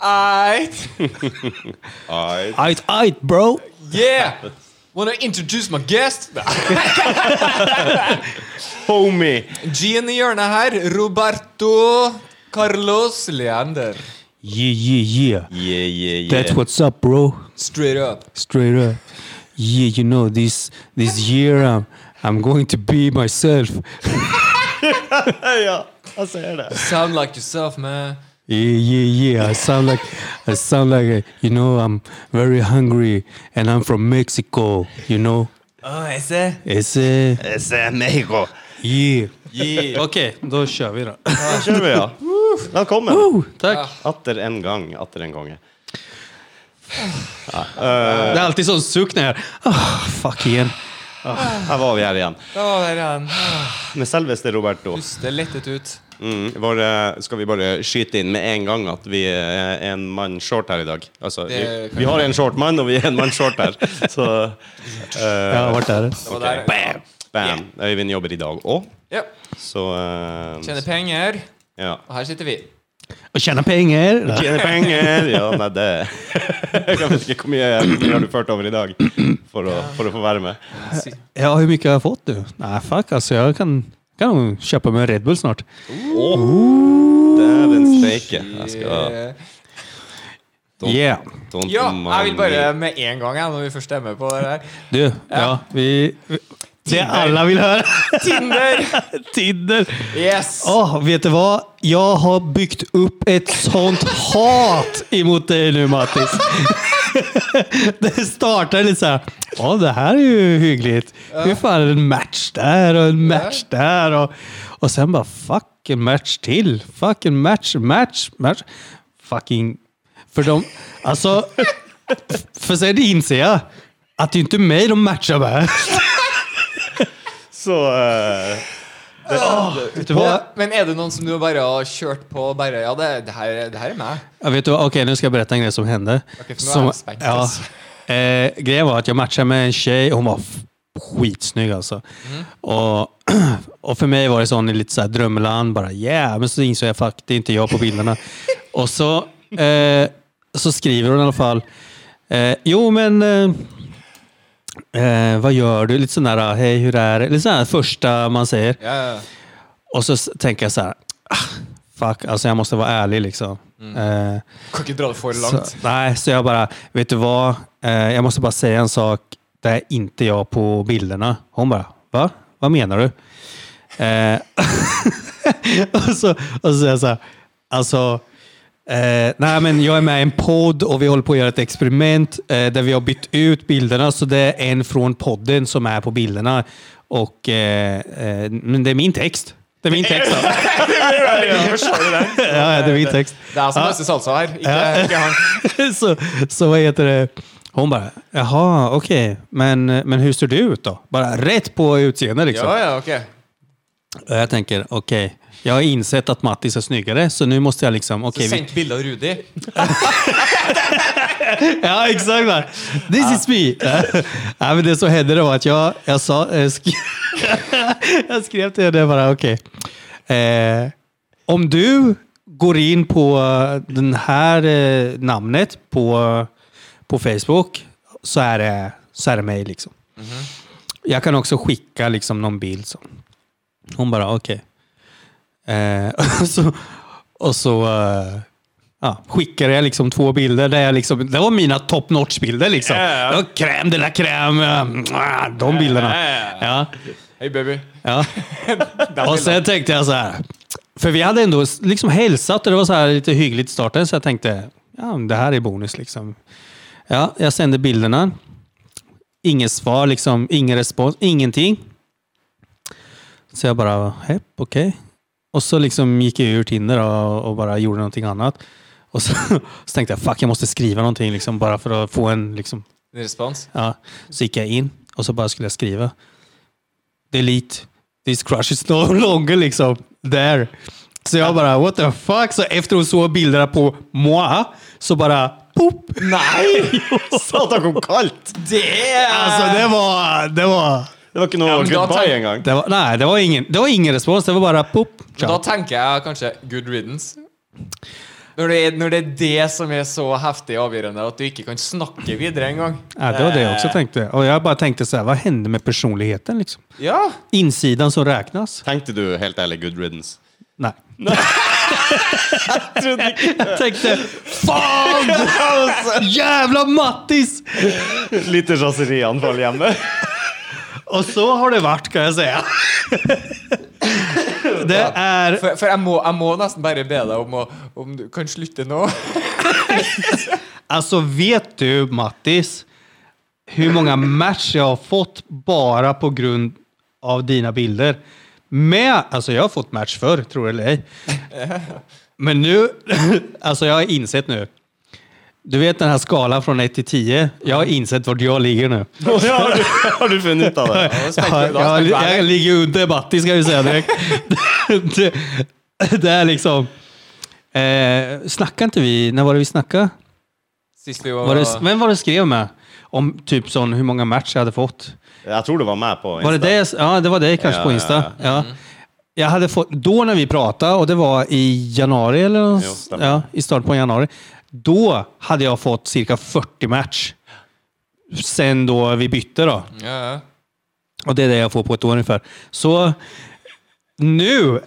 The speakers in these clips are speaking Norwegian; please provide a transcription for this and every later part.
Alright. Alright. Ait, ait, bro! Yeah. Wanna introduce my guest? Homie! Gian i hjørnet her. Roberto Carlos Leander. Yeah, yeah, yeah. Yeah, yeah, yeah. That's what's up, bro. Straight up. Straight up. Yeah, you know, this this year I'm, I'm going to be myself. ja, jeg ser det. Sound like yourself, man. Yeah, yeah, yeah. I sound like, I sound like, a, you know, I'm very hungry and I'm from Mexico, you know. Oh, jeg ser. It's uh, Jeg ser Mexico. yeah. Yeah. Ok, da kjører vi, da. Da kjører vi, ja. Velkommen. Oh, Ah. takk. Atter en gang. Atter en gang. Det er alltid sånn sukk ned her. Åh, Ah, fuck igjen. Her var vi her igjen. Da var han. Med selveste Roberto. Puste lettet ut. Mm, bare, skal vi bare skyte inn med en gang at vi er en mann short her i dag? Altså, vi, Det kan vi har en short mann, og vi er en mann short her. Så Jeg har eh, vært der. Det var der. Bam! Bam. Øyvind jobber i dag òg, Ja. så eh, Tjener penger. ja. Og her sitter vi. Å tjene penger. Tjene penger! Ja, nei, det Jeg vet ikke hvor mye, hvor mye har du ført over i dag for å, for å få være med. Ja, hvor mye har jeg fått, du? Nei, fuck, altså. Jeg kan, kan jo kjøpe meg Red Bull snart. Oh, Dæven steike. Jeg skal Eh, Don't- Yeah. don't Ja, jeg vil mind bare me. med en gang, jeg, når vi først stemmer på det der. Du, ja, vi, vi Det alle vil høre. Tinder! Tinder. Yes! Åh, vet du hva? Jeg har bygd opp et sånt hat imot deg nå, Mattis. Det startet litt sånn Å, det her er jo hyggelig. Hur fan er det en match der og en match der? Og, og sen bare fuck en match til. Fuck en match, match, match. Fucking For de Alltså, för sen inser jag att det är inte mig de matchar med. Så eh, Vet du vad? Men er det noen som du bare har kjørt på og bare Ja, det, det, her, det her er meg. Ja, vet du hva? Ok, nå skal jeg berette en greie som hände. Okej, för nu är som, jag spänd, ja, alltså. eh, grejen var att jag matchade med en tjej och hon var f- skitsnygg alltså. Mm. Och, och för mig var det sån i lite så här drömland, bara yeah, men så insåg jag fuck, det är inte jag på bilderna. och så, eh, så skriver hon i alla fall, eh, jo men eh, eh, vad gör du? Lite sån där, hej hur är det? Lite sån här första man säger. Ja, ja. Och så s- tänker jag så här, ah, fuck, alltså jag måste vara ärlig liksom. Mm. Eh, Kan ikke dra det for så, langt. nej, så jag bara, vet du vad? Eh, jag måste bara säga en sak. Det är inte jag på bilderna. Hon bara, va? Vad menar du? Eh, och, så, och så säger jag så här, alltså, eh, nej men jag är med i en podd och vi håller på att göra ett experiment eh, där vi har bytt ut bilderna. Så det är en från podden som är på bilderna. Och, eh, eh, men det är min text. Det är min text. Då. ja, ja, det är min text. Det er som Øystein Salsa her. Ikke, ikke han. så, så vad heter det? Hon bara, jaha, okej, men, men hur ser du ut då? Bara rätt på utseende liksom. Ja, ja, ok. Och jag tänker, okej, jag har insett att Mattis är snyggare, så nu måste jag liksom, okej. vi- Sendt bilde av Rudi. ja, exakt. va? This is me. ja, men det som hände det var att jag, jag sa, eh, sk- jag skrev till henne bara, okej. Eh, om du går in på eh, den här eh, namnet på, på Facebook så är det, så är det mig liksom. Jag kan också skicka liksom någon bild. Så. Hon bara, okej. Eh, och så, och så eh, ja, skickade jag liksom två bilder. Där jag liksom, det var mina top notch-bilder. Liksom. Ja, ja. Det var Crème de la crème. eh, De bilderna. Ja, Hei, baby. ja. Det er Och bildet. sen tänkte jag så här. För vi hade ändå liksom hälsat och det var så här lite hyggligt i starten. Så jag tänkte, ja men det här är bonus liksom. Ja, jag sände bilderna. Inget svar, liksom, ingen respons, ingenting. Så jag bara, hepp, okej. Och så liksom gick jag ur Tinder och, och bara gjorde någonting annat. Och så, så tänkte jag, fuck jag måste skriva någonting liksom, bara för att få en liksom, En respons? Ja, så gick jag in och så bara skulle jag skriva. Delete. This crush is no longer liksom. There. Så jag bara what the fuck. Så efter hon såg bilderna på moi så bara pop. Nei! Satan, kom kaldt! Det er Alltså det var, det var, Det var ikke noe Ja, men da goodbye tenk- engang. det var, nej det var ingen, det var ingen respons. Det var bara pop. Men Da Ciao. tenker jeg kanskje good riddance. Når det, er, når det er det som er så heftig avgjørende at du ikke kan snakke videre engang. Ja, det var det jag också tänkte. Och jag bara tänkte så här, vad hände med personligheten liksom? Ja. Insidan som räknas? Tenkte du helt ærlig good riddance? Nej. Jag tänkte, fan! Jävla Mattis! Lite raserianfall hjemme. Og så har det vært, kan jeg si. Det er For, for jeg, må, jeg må nesten bare be deg om, å, om du kan slutte nå. Altså, alltså, vet du, Mattis, hvor mange match jeg har fått bare på grunn av dine bilder? Med Altså, jeg har fått match før, tror jeg eller ei. Men nå Altså, jeg har innsett nå Du vet den her skalaen fra 1 til 10? Jeg har innsett hvor jeg ligger nå. har, du, har du funnet ut av det? Da Jeg, spenker du- da jeg, spenker jeg jeg deg. ligger under Matti, skal vi si det. det. Det er liksom eh, Snakka ikke vi Når var det vi snakka? Sist vi var, Hvem var det skrev med? Om typ sånn hvor mange match jeg hadde fått? Jeg tror du var med på Var det det? jeg- Ja, det var det kanskje Ja, på ja, Mm. Insta. Ja. Jag hade fått, då när vi pratade, och det var i januari, eller Jo, stämmer. ja, i starten på januari, då hade jag fått cirka 40 match. Sen då vi bytte då. ja, ja. Och det är det jag får på ett år ungefär. Så nu...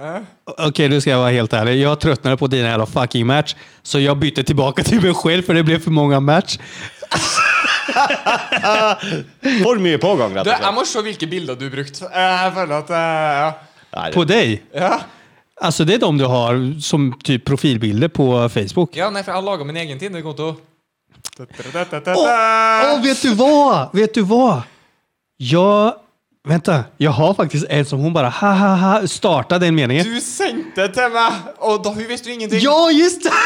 Äh? Okej, nu ska jag vara helt ärlig. Jag tröttnade på dina jävla fucking match. Så jag bytte tillbaka till mig själv för det blev för många match. For mye pågang, rett Du, og jeg slett. må se hvilke bilder du brukte. Jeg føler at eh, Nei, På dig? ja. ja. Alltså det är de du har som typ profilbilder på Facebook. Ja, nei, for jeg har laga min egen Tinder-konto. Åh, vet du vad? Vet du vad? Jag... Vänta, jag har faktiskt en som hon bara ha ha ha startade den meningen. Du sendte til meg, og da hun visste jo ingenting. Ja, just det!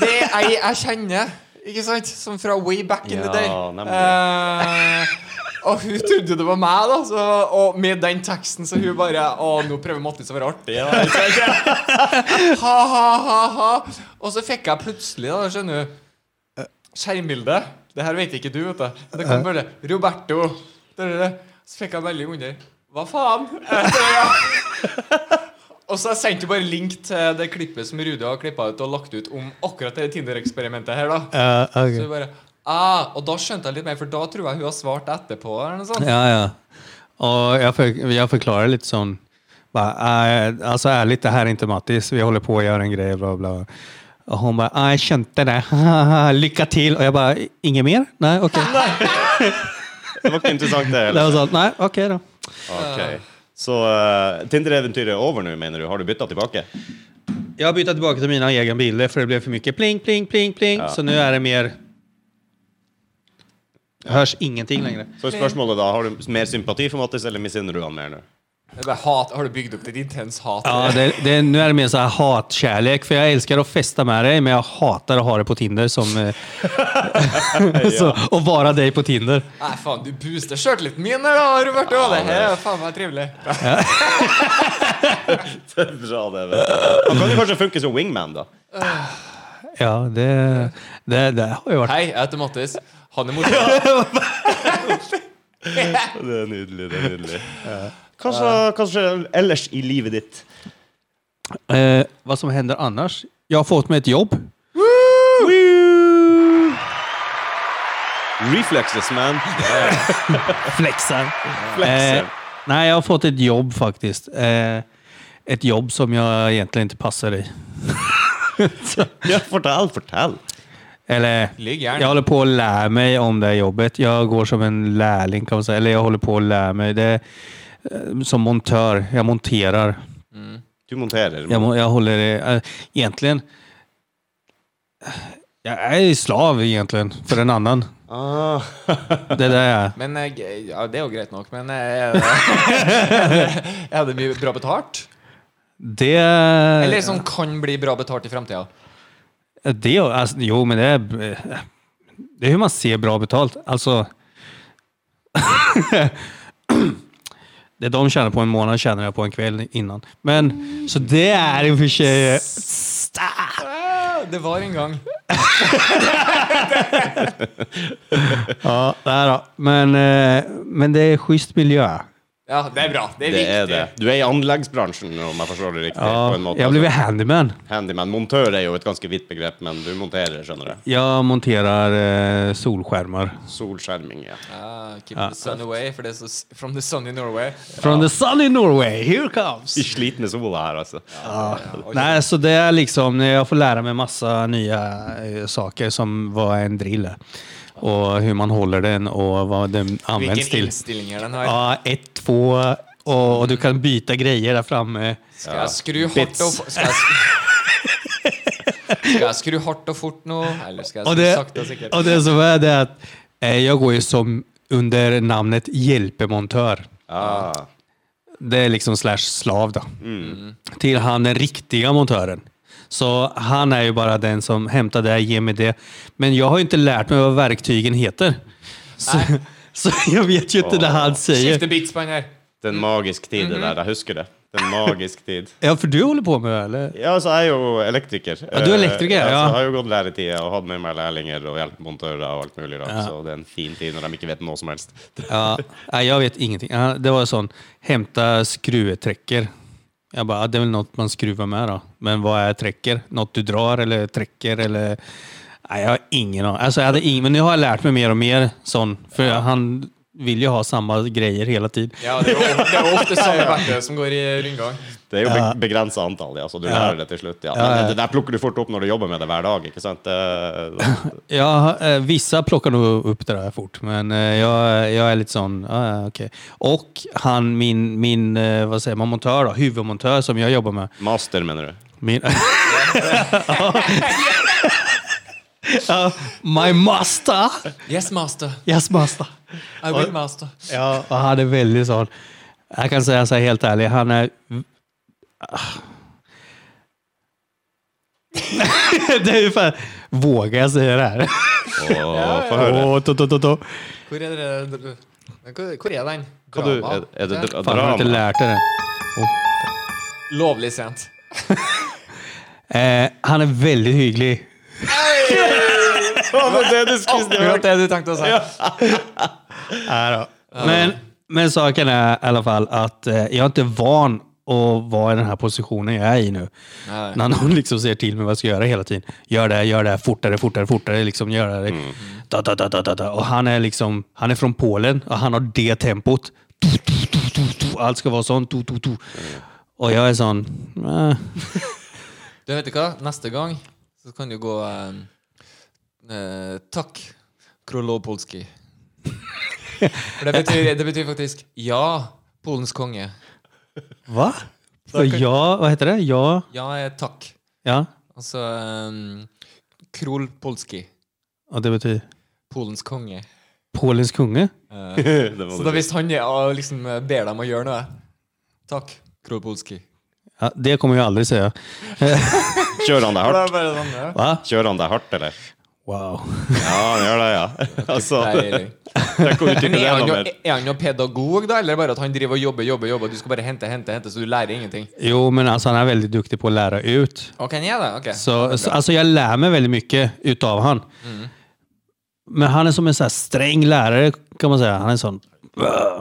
Det er ei jeg kjenner, ikke sant? Som fra way back in the Ja, day. nemlig. Eh, og hun trodde det var meg, da. Så, og med den teksten, så hun bare Å, nå prøver Mattis å være artig. Da. ikke sant? ha, ha, ha, ha. Og så fikk jeg plutselig, da, skjønner du, eh, skjermbilde. Det her vet ikke du, vet du. Men Det kom bare Roberto. Da, da, da. Så fikk jeg veldig under. Hva faen? Eh, så, ja. Og så sendte jeg bare link til det klippet som Rudi har klippa ut og lagt ut om akkurat det Tinder-eksperimentet her, da. Ja, Så okej. vi bare ah, Og da skjønte jeg litt mer, for da tror jeg hun har svart etterpå. Eller noe sånt. Ja, ja. Og jeg, for, jeg forklarer litt sånn bare, eh, Altså ærlig, det her er ikke Mattis. Vi holder på å gjøre en greie, bla, bla. Og hun bare ah, 'Jeg skjønte det. Lykke til.' Og jeg bare 'Ingen mer?' Nei, ok. det var ikke interessant, det Det heller. var sånn, nei, ok da. Ok. Så eh, Tinder-eventyret er over nå, mener du? Har du bytta tilbake? Jeg har byttet tilbake til mine egne bilder, for det ble for mye pling, pling, pling. pling. Ja. Så nå er det mer Hørs ingenting lenger. Så er spørsmålet da, har du mer sympati for Mattis, eller misunner du han mer nå? Jeg bare, hat, har du bygd opp et intens hat? Ja, det, det, nu är det mer så här hatkärlek, för jag älskar att festa med dig, men jag hatar att ha dig på Tinder som... eh, så, och vara dig på Tinder. Nei, faen, du booster sjøltilliten min her, da, Roberto. det her er faen meg trivelig. Det er Bra, det. vet du. Han kan jo kanskje funke som wingman, da. Ja, det, det, det har ju varit... Hei, jeg heter Mattis. Han er morsom. Det er nydelig. det er nydelig. Hva som- hva som skjer ellers i livet ditt? Eh, vad som händer annars? Jag har fått mig ett jobb. Woo! Reflexes, man. Flexar. Flexar. Eh, nej, jag har fått ett jobb faktiskt. Eh, ett jobb som jag egentligen inte passar i. Ja, fortell, fortell. Eller, Ligg jag gjerne. håller på att lära mig om det här jobbet. Jag går som en lärling kan man säga. Eller jag håller på att lära mig. Det är, eh, som montör. Jag monterar. Du monterer. Jag, må- jag håller det. eh, Egentligen. Jag är slav egentligen för en annan. Ah. Det är det jag är. Men eh, ja, Det er jo greit nok, men eh, er det, er det mye bra betalt? Det Eller som kan bli bra betalt i framtida. Det, och, alltså, jo, men det är, det är hur man ser bra betalt. Alltså... det de tjänar på en månad tjänar jag på en kväll innan. Men, så det är i och för sig... Det var en gang. Ja, där då. Men, eh, men det är schysst miljö. Ja, det er bra. Det er Det er viktig. det. Du er i anleggsbransjen, om jeg forstår det riktig. Ja, på en måte. Alltså, jag blev handyman. Handyman. Montør er jo et ganske vidt begrep, men du monterer, skjønner du. Jag monterar eh, solskärmar. Solskjerming, ja. Ah, keep the sun away, for det er så s- from the sun in Norway. From the sunny Norway, here comes! I slitne sola her, altså. Nej, så det är liksom, jag får lära mig massa nya eh, saker som vad en drill är. Och hur man håller den och vad den används Hvilke till. innstillinger den har. Ja, ett, två och, och du kan byta grejer där framme. Skal jeg skru hardt Bits. og fo- Skal jeg, sk- skal jeg skru hardt og fort nå? Eller skal jeg Och skru det, sakte og sikkert? och det som är det är att eh, jag går ju som under namnet hjälpemontör. Ah. Det är liksom slash slav då. Till han den riktiga montören. Så han är ju bara den som hämtar det, ger mig det. Men jag har ju inte lärt mig vad verktygen heter. Så, så jag vet ju inte det han säger. Skifte bits på den her. Mm. Det er en magisk tid, det Mhm. der. Jeg husker det. Det er en magisk tid. Ja, för du håller på med det eller? Ja, alltså, altså, jeg er jo elektriker. Ja, du er elektriker, Eh, ja. så Jeg har jo gått læretida og hatt med meg lærlinger og hjelpemontører og alt mulig rart, så alltså, det er en fin tid når de ikke vet noe som helst. Ja, nej, jag vet ingenting. Ja, Det var sån, hämta skruveträcker. Jag bara, ja, det är väl något man skruvar med då. Men vad är träcker? Något du drar eller träcker eller? Nej, jag har ingen aning. Alltså, jag hade ingen, men nu har jag lärt mig mer och mer sån. För han vill ju ha samma grejer hela tiden. Ja, det er jo det er jo ofte samme verktøy eh, som går i rundgang. Det er jo be begrensa antall, ja, så du lærer det til slutt. Ja. Men det der plukker du fort opp når du jobber med det hver dag, ikke sant? Eh, Det, Ja, eh, vissa plockar nog upp det där fort, men eh, jag, jag är lite sån, ja, ja, okej. Och han, min, min eh, vad säger man, montör då, huvudmontör som jag jobbar med, master, mener du? Min... Ja, my master! Yes, master. Yes, master. I will master. Ja, og han er veldig sånn Jeg kan si altså, helt ærlig, han er Det er ungefär, vågar jag säga det här? Å, få høre. Åh, to, to, to, to. Hvor er det Hvor hvor er den? Hva du, Drama? er, er det dra- Fan, jag har inte drama? lärt dig det. Lovlig sent. Eh, han er veldig hyggelig. Hva var det du skulle si? Akkurat det du tenkte å si. Ja då. Men, men saken är i alla fall att eh, jag är inte van att vara i den här positionen jag är i nu. Nej. När någon liksom säger till mig vad jag ska göra hela tiden. Gör det, gör det, fortare, fortare, fortare. Liksom, gör det. Da, da, da, da, da, da. Och han är, liksom, han är från Polen och han har det tempot. Tu, tu, tu, tu, tu. Allt ska vara sånt. Tu, tu, tu. Och jag är sån... Eh. Du, vet du hva? Neste gang så kan du gå eh, eh, Takk, Krolopolski. For det betyr, det betyr faktisk ja, Polens konge. Va? Så jag, vad heter det? Jag, Ja er takk. ja. Altså um, Krolpolski. Och det betyder Polens konge. Polens konge. Det må Så du da si. hvis han er, og liksom eh, ber dem å gjøre noe Takk, Krolpolski. Ja, det kommer jag aldrig säga. Kjører han deg Det hardt? er bare sånn, ja. Va? Kjører han deg hardt, eller? Wow. Ja, han gjør det, ja. Alltså, Altså, Deilig. jeg kan utdype Men det er han, enda jo, mer. er han jo pedagog, da, eller bare at han driver og jobber, jobber, jobber, og du skal bare hente, hente, hente, så du lærer ingenting? Jo, men alltså han är väldigt duktig på att lära ut. Ok, han er det? Ok. Så, så, alltså jag lär mig väldigt mycket utav han. Men han är som en så här sträng lärare kan man säga. Han är sån...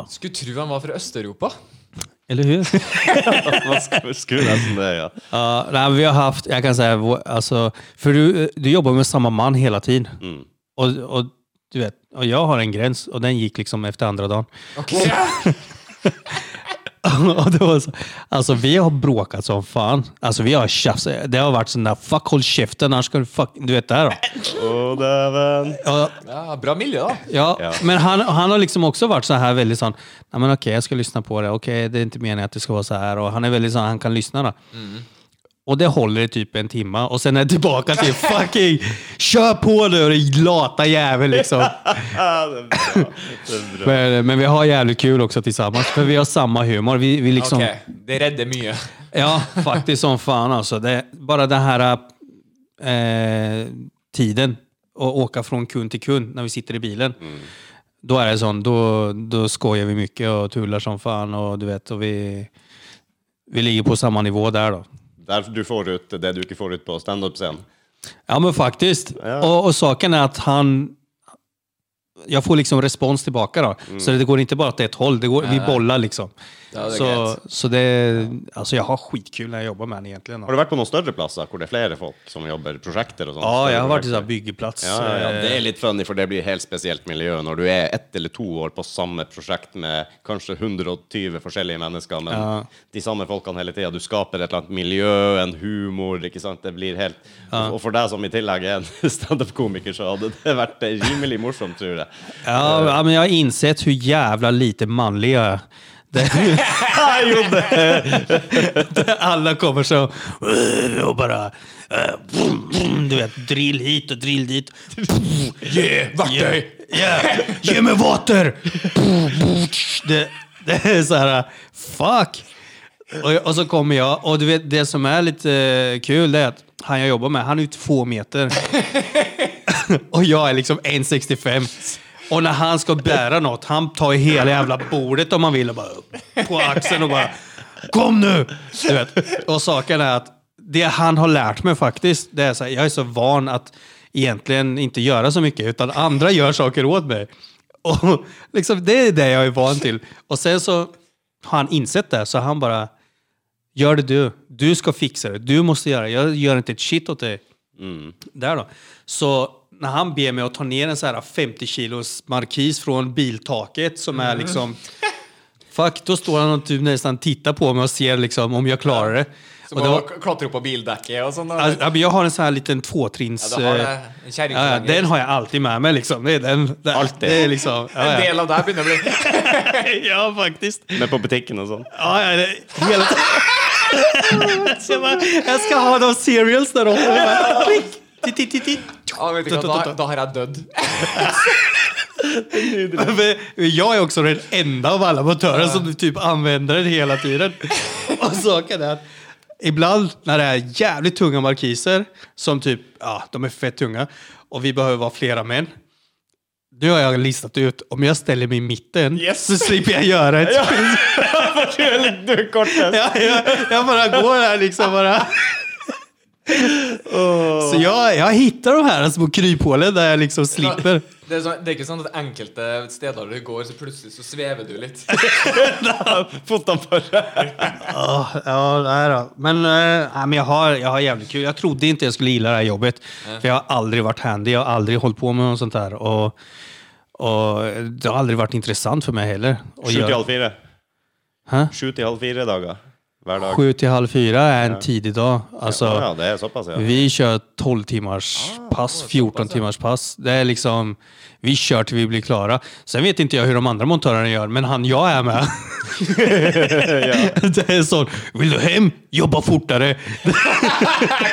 Skulle tro han var fra Øst-Europa. Eller hur? Man skulle- skulle nesten det, ja. Ja, nej, vi har haft, jag kan säga, vår- alltså, för du, du jobbar med samma man hela tiden. Och, och, du vet, och jag har en gräns och den gick liksom efter andra dagen. Ok. och det var så, alltså vi har bråkat som fan. Alltså vi har tjafsat. Det har varit sån där fuck håll käften annars ska du fuck... Du vet det här då. Å, dæven. Ja, Ja, bra miljø, da. Ja, Ja. men han, han har liksom också varit så här väldigt sån, nej men okej jag ska lyssna på det, okej det är inte meningen att det ska vara så här och han är väldigt sån, han kan lyssna då. Och det håller i typ en timma och sen är jag tillbaka till fucking kör på du din lata jävel liksom. Ja, det er bra. Det er bra. Men, men vi har jävligt kul också tillsammans för vi har samma humor. Vi, vi liksom, Ok, det redder mye. Ja, faktiskt som fan alltså. Det, bara den här eh, tiden och åka från kund till kund när vi sitter i bilen. Mm. Då är det sån, då, då skojar vi mycket och tular som fan och du vet, och vi, vi ligger på samma nivå där då. Der du får ut det du ikke får ut på standup-scenen. Ja men faktiskt. Och, och saken är att han... Jag får liksom respons tillbaka då. Så det går inte bara åt ett håll, det går, vi bollar liksom. Mm. Ja, det är så, grejt. så det... Alltså jag har skitkul när jag jobbar med honom egentligen. då. Har du vært på noen større plasser hvor det er flere folk som jobber prosjekter? og sånt? Ja, Større jag har varit i prosjekter? sån här byggplats. eh, Ja, ja, ja, det er litt funny, for det blir helt spesielt miljø når du er ett eller to år på samme prosjekt med kanskje 120 forskjellige mennesker, men Ja. de samme folkene hele tida. Du skaper et eller annet miljø, en humor, ikke sant. Det blir helt Og for deg som i tillegg er en standup-komiker, så hadde det vært rimelig morsomt, tror jeg. Ja, ja, men jag har insett hur jävla lite manlig jag är. Det, alla kommer så "Åh", och bara eh, vroom, vroom, du vet, drill hit och drill dit. Yeah, verktøy! Yeah, ge mig vatten! Det, det är så här, fuck! Och, och så kommer jag, och du vet, det som är lite eh, kul det är att han jag jobbar med, han är ju två meter. och jag är liksom 1,65. Och när han ska bära något, han tar ju hela jävla bordet om han vill och bara upp på axeln och bara Kom nu! Du vet. Och saken är att det han har lärt mig faktiskt, det är så här, jag är så van att egentligen inte göra så mycket, utan andra gör saker åt mig. Och liksom, det är det jag är van till. Och sen så har han insett det, så han bara Gör det du. Du ska fixa det. Du måste göra det. Jag gör inte ett shit åt dig. Mm. Där då. Så när han ber mig att ta ner en så här 50 kilos markis från biltaket som Mm. är liksom... Fuck, då står han och typ nästan tittar på mig och ser liksom om jag klarar det. Som Och det å var, k- klatre opp på bildekket og sånn. da. alltså, ja, men jag har en sån här liten tvåtrins... Ja, du har det. eh, En kärringförlängare. ja, ja, den har jag alltid med mig liksom. Det är den. Det, Alltid. Det är liksom, En ja, ja. del av deg begynner å bli ja, faktiskt. Men på butikken og sånn. Ja, ja, det, hela jag, bara, jag ska ha de cereals där uppe. Jag bara, klick, titt, titt, titt, titt. Ja, vet du hva, da, da har jeg dødd. Men Jag är också den enda av alla amatörer som typ använder den hela tiden. Och saken är att ibland när det är jävligt tunga markiser som typ, ja, de är fett tunga och vi behöver vara flera män. Nu har jag listat ut, om jag ställer mig i mitten Yes. så slipper jeg gjøre et Du er kortest. Ja, jag, jag bara går här liksom bara. Så jag, jag hittar de här små kryphålen där jag liksom slipper. Det er, sånn, det er ikke sånn at enkelte steder du går, så plutselig så svever du litt. Fotene bare Ja, ja nej då. Men, eh, nej, men jag, har, jag har jävligt kul. Jag trodde inte jag skulle gilla det här jobbet. För jag har aldrig varit handy, jag har aldrig hållit på med något sånt här. Och, och det har aldrig varit intressant för mig heller. att Sju göra. til halv fire. Hæ? Sju till halv fire dager hver dag. Sju till halv fyra är en tidig dag. Alltså, Ja, det er såpass, ja. Vi kör 12 timmars Ah, pass, 14 timmars pass. Det är liksom, vi kör till vi blir klara. Sen vet inte jag hur de andra montörerna gör, men han jag är med. Det är så, vill du hem? Jobba fortare.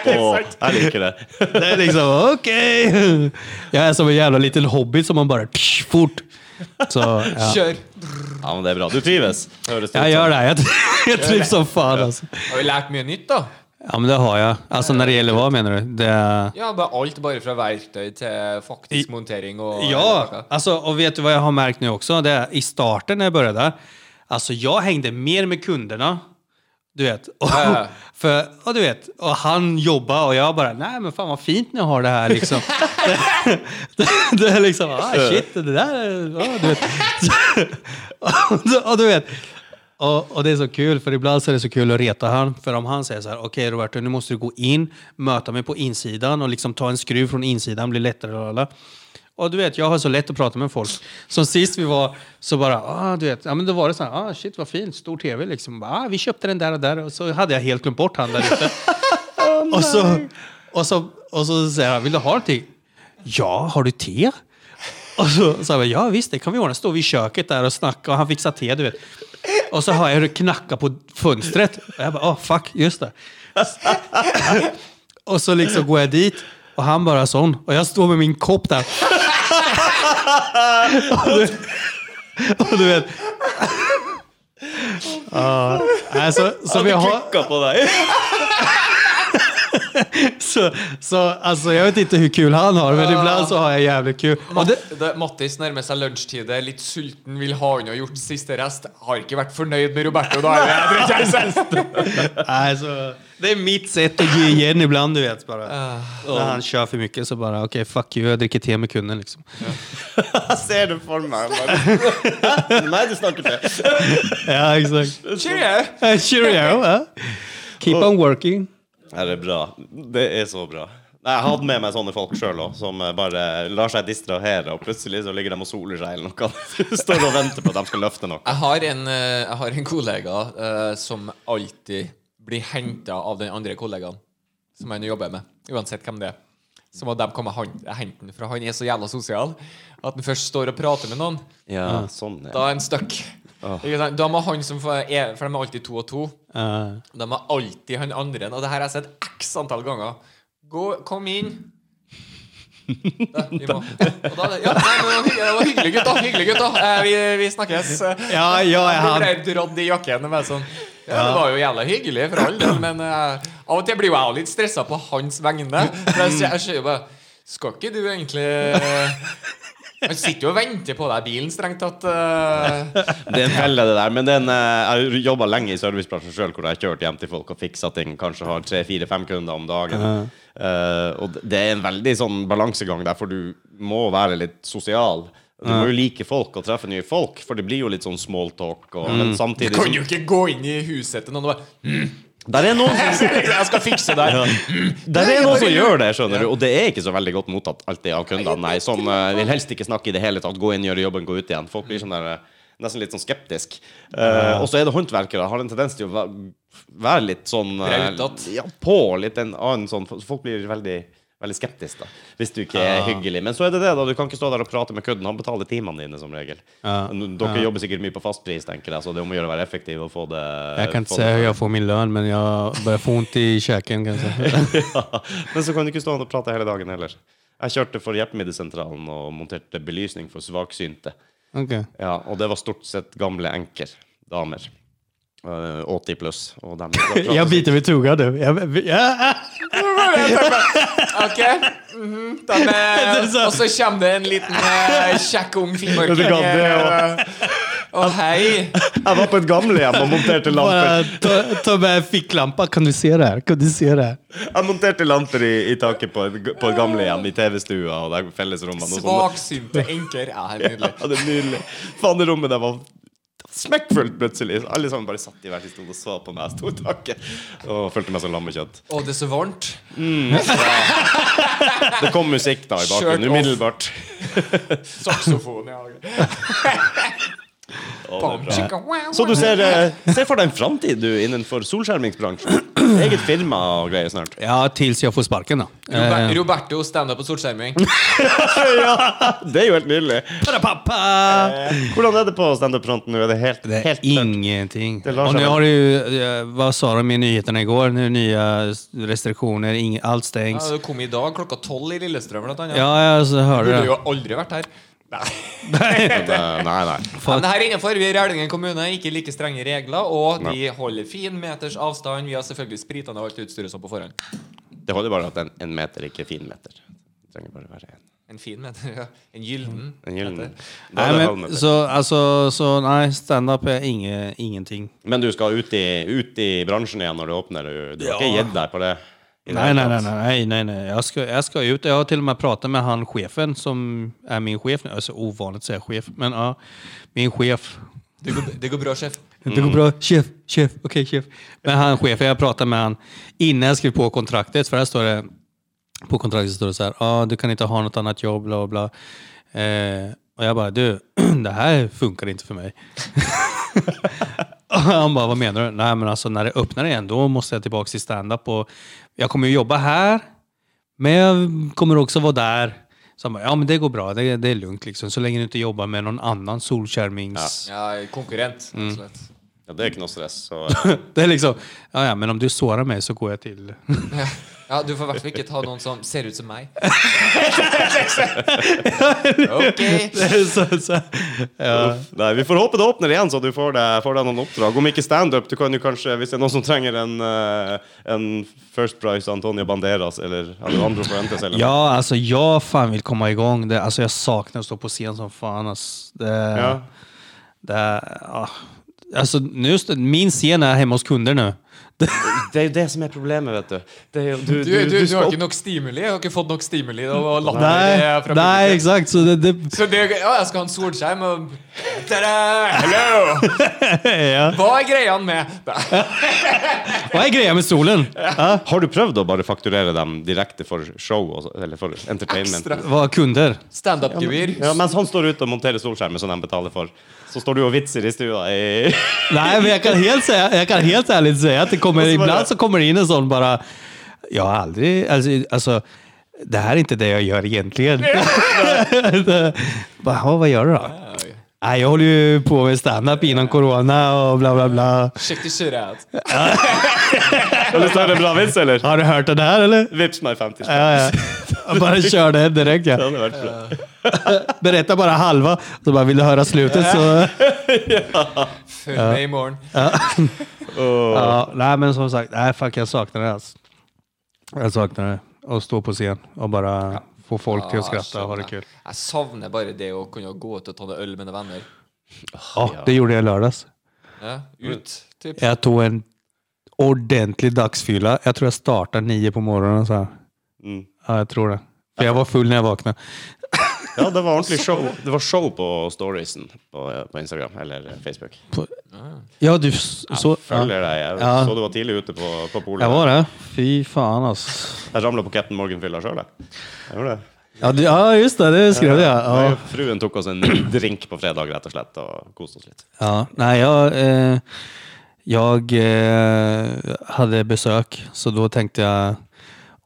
Åh, jeg liker det. Det är liksom, okej. Jag är som en jävla liten hobbit som man bara, tsch, fort. Så, ja. Kjør! Ja, men det er bra. Du trives, høres det Jag gör det, här. jag, jag trivs som fan alltså. Har vi lært mye nytt, da? Ja men det har jeg. Altså når det gjelder hva, mener du? Det er... Ja, bare alt bare fra verktøy til faktisk montering og Ja, alltså, och vet du vad jag har märkt nu också? Det är, I starten när jag började där, alltså jag hängde mer med kunderna. Du vet, och, ja. för, och du vet, och han jobbar och jag bara, nej men fan vad fint ni har det här liksom. det, det, det är liksom, ah shit, det där, är- ja, du vet. och, du- och du vet, och, och det är så kul, för ibland så är det så kul att reta han. För om han säger så här, okej Roberto, nu måste du gå in, möta mig på insidan och liksom ta en skruv från insidan, blir lättare. Lala. Och du vet, jag har så lätt att prata med folk. Som sist vi var, så bara, ah, du vet, ja men då var det så här, ah shit vad fint, stor tv liksom. Ah, vi köpte den där och där och så hade jag helt glömt bort han där ute. Och så, och, så, och så säger han, vill du ha någonting? Ja, har du te? Och så sa jag, ja visst det kan vi ordna. Står vi i köket där och snackar och han fixar te, du vet. Och så hör jag hur det knackar på fönstret. Och jag bara, åh fuck, just det. Och så liksom går jag dit och han bara sån. Och jag står med min kopp där. Och du, och du vet. Ja, alltså, så vi har... klikka på deg. Så, så alltså, jag vet inte hur kul han har, men ibland så har jag jävligt kul. Och det, Matt- det- Mattis nærmer seg lunsjtider, litt sulten, vil ha unna gjort siste rest. Har ikke vært fornøyd med Roberto. Da er det jeg drikker en sest. nej, så, det är mitt sätt att ge igen ibland, du vet. Bara. När han kör för mycket så bara, okej, fuck you, jag dricker te med kunden. Liksom. Jeg ser det for meg. bare. Nei, du snakker til. Ja, exakt. Cheerio! Eh, Cheerio! ja. Keep on working. Nei, det er bra. Det er så bra. Nei, Jeg hadde med meg sånne folk sjøl òg, som eh, bare lar seg distrahere, og plutselig så ligger de og soler seg eller noe. Du står og venter på at de skal løfte noe. Jeg har en, eh, jeg har en kollega eh, som alltid blir henta av den andre kollegaen som han jobber med, uansett hvem det er. Så må de komme han- hente han, for han er så jævla sosial at han først står og prater med noen. Ja, sånn, ja. Da er han stuck. Ikke sant? Da må han som får- er For de er alltid to og to. Eh, De er alltid han andre. Og det her har jeg sett x antall ganger. Gå, kom inn. Da, vi må. Og da, ja, nei, men det var hyggelig- det var hyggelig, gutta. Hyggelig, gutta. Eh, vi, vi snakkes. Ja, ja, jeg har- Jeg ble dratt i jakken. og bare sånn, ja, det var jo jævla hyggelig for all del, men eh, av og til blir jo jeg litt stressa på hans vegne. For jeg, ser- jeg ser jo bare Skal ikke du egentlig eh, Han sitter jo og venter på deg i bilen, strengt tatt. eh. Det er en felle, det der. Men det er en, eh, jeg jobba lenge i servicebransjen sjøl, hvor jeg har kjørt hjem til folk og fiksa ting. Kanskje har tre-fire-fem kunder om dagen. Eh, og det er en veldig sånn balansegang der, for du må være litt sosial. Du må jo like folk og treffe nye folk, for det blir jo litt sånn smalltalk. Og, Men samtidig Kan jo som, ikke gå inn i huset til noen og bare Der er noen som Jeg skal fikse deg. Der er noen som gjør det, skjønner du. Og det er ikke så veldig godt mottatt alltid av kundene. Nei, som eh, vil helst ikke snakke i det hele tatt. Gå inn, gjøre jobben, gå ut igjen. Folk blir sånn der eh, Nesten litt sånn skeptisk. Eh, og så er det håndverkere. Har en tendens til å væ- være litt sånn eh, Rautete. Ja, på litt en annen sånn så Folk blir veldig Veldig skeptisk da hvis du ikke er hyggelig. Men så er det det, da. Du kan ikke stå der og prate med kunden. Han betaler timene dine, som regel. Ja. N- Dere jobber sikkert mye på fastpris, tenker jeg, så det er om å gjøre å være effektiv og få det jag kan inte få säga det- hur jag får min lön, men jag börjar få ont i käken. Kanske. ja. Men så kan du ikke stå og prate hele dagen heller. Jeg kjørte for Hjelpemiddelsentralen og monterte belysning for svaksynte. Okay. Ja, og det var stort sett gamle enker. Damer. Eh, 80 pluss. Og dem prater Jag biter mig i tungan nu. Jag, ja, Ok. mhm, da med, Det er så- og så kommer det en liten eh, kjekk ung Det finmørking. kan eh, det, Og hei. Jeg var på et gamlehjem og monterte bara lamper. ta, ta med ficklampa. Kan du se det här? Kan du se det här? Jeg monterte lamper i, i taket på et, på et gamlehjem i TV-stua og der fellesrommene. og sånn. Svaksynte enker. Ja, helt nydelig. Ja, det er nydelig. Faen, det rommet der var smekkfullt plutselig. Alle sammen bare satt i hver sin stol og så på meg. Jeg sto i taket og følte meg som lammekjøtt. Å, det er så varmt. Det kom musikk da i Shirt bakgrunnen off. umiddelbart. Saksofon, ja. Bam, chicka, wow, Så du wow. ser, eh, ser for deg en framtid du innenfor solskjermingsbransjen. Eget firma og greier snart. Ja, tills jag får sparken då. Robert, Roberto standup på sortskjerming. Det er jo helt nydelig. Pappa! Hvordan er det på standup-fronten nå? Er det helt, Det är helt tørt? ingenting. Det lär sig Och nu väl. har det ju, eh, vad sa de i nyheterna igår? Nu är nya restriktioner, ing, allt Ja, stängs. du kom i dag klokka tolv i Lillestrøm. Blant annet. Ja, alltså, jag så hörde Burde det. jo aldri vært her. Nei. Eh, Nei, nei. Men det her er innenfor. Vi i Rælingen kommune er ikke like strenge regler, og vi holder fin meters avstand. Vi har selvfølgelig sprita ned alt utstyret som på forhånd. Det holder bare at en, en meter ikke er fin meter. Det trenger bare være en. En fin meter, ja. En gyllen. En gyllen. Da er det Nej, halv men, meter. så, alltså, så nej, stand-up är inge, ingenting. Men du skal ut i, ut i bransjen igjen når det åpner. Du, du har ikke gitt deg på det? i det Nej, hele nej, nej, tatt. nej, nej, nej. Jag, ska, jag ska ut. Jag har till och med pratat med han chefen som är min chef nu. Det är så ovanligt att säga chef, men ja, min chef. Det går, det går bra, sjef. Det går bra. Chef, chef, okej chef. Men han chefen, jag pratade med han innan jag skrev på kontraktet, för här står det, på kontraktet står det så här, ah, du kan inte ha något annat jobb, bla bla. bla." Eh, och jag bara, du, det här funkar inte för mig. Och han bara, vad menar du? Nej men alltså när det öppnar igen, då måste jag tillbaka till stand-up och jag kommer ju jobba här, men jag kommer också vara där. Så han bara, ja men det går bra, det, det är lugnt liksom, så länge du inte jobbar med någon annan solskärmings... Mm. Ja, konkurrent. rett og slett. Ja, det er ikke noe stress. Så, Det är liksom, ja, ja, men om du sårar mig så går jag till... Ja. ja, Du får i hvert fall ikke ta noen som ser ut som meg. Ok. så, så, ja. Uff, Nei, vi får håpe det åpner igjen, så du får deg, får deg noen oppdrag. Om ikke standup, du kan jo kanskje, hvis det er noen som trenger en, eh, en First Price Antonia Banderas eller Alejandro Fuentes eller noe. ja, alltså jag fan vill komma igång. Det, alltså jag saknar att stå på scen som fan. Alltså, det, Ja. det, ja. alltså, nu, st- min scen är hemma hos kunder nu. Det er jo det som er problemet, vet du. Det er jo, du, Du, du, du, har ikke nok stimuli? Jeg har ikke fått nok stimuli? Det var latter Nej, eh, fra nej, publikum. exakt. Så det, det, Så det, ja, jeg skal ha en solskjerm og Tada! Hello! ja. Hva er greia med Nei. Vad är grejen med solen? Har du prøvd å bare fakturere dem direkte for show, og så- eller for entertainment? Ekstra. Vad kunder? Standup-gevir. Ja, mens han står ute og monterer solskjermer som de betaler for, så står du og vitser i stua i Nej, men jag kan helt, säga, jag kan helt ärligt säga att det kommer, Och så bara- ibland så kommer det in en sån bara, jag har aldrig, alltså, alltså det här är inte det jag gör egentligen. bara, "Ja, vad gör du då? Nej, jag håller ju på med standup innan corona och bla bla bla. Sjekk til surhet. Har du lyst til å høre en bra vits, eller? Har du hört den här eller? Vips meg 50 spenn. Ja, ja. Jag bara kör den direkt. Det Ja. hadde vært bra. Berätta bara halva, så bara vill du höra slutet så... Følg med i morgen. Ja, nej, men som sagt, nej, fuck, jeg saknar det alltså. Jag saknar det. Att stå på scen och bara få folk till att skratta och ha det kul. Jeg savner bare det å kunne gå ut og ta noe øl med noen venner. Ja, det gjorde jag i lördags. Ja, Mm. ut, typ. Jag tog en ordentlig dagsfylla. Jag tror jag startade nio på morgonen. Så här. Mm. Ja, jag tror det. För jag var full när jag vaknade. Ja, det var ordentlig show. Det var show på storiesen på, på Instagram eller Facebook. Ja, du s- så... Ja, Følger deg. Jeg Ja. så du var tidlig ute på, på polet. jag var det. Fy fan alltså. Jeg ramla på Captain Morgan-fylla sjøl, jeg. Jeg gjorde det. Ja, du, ja, just det. Det skrev jag. Ja. Jeg- Fruen tok oss en drink på fredag, rett og slett, og koste oss litt. Ja, nej, jag, eh, jag eh, hade besök, så då tänkte jag...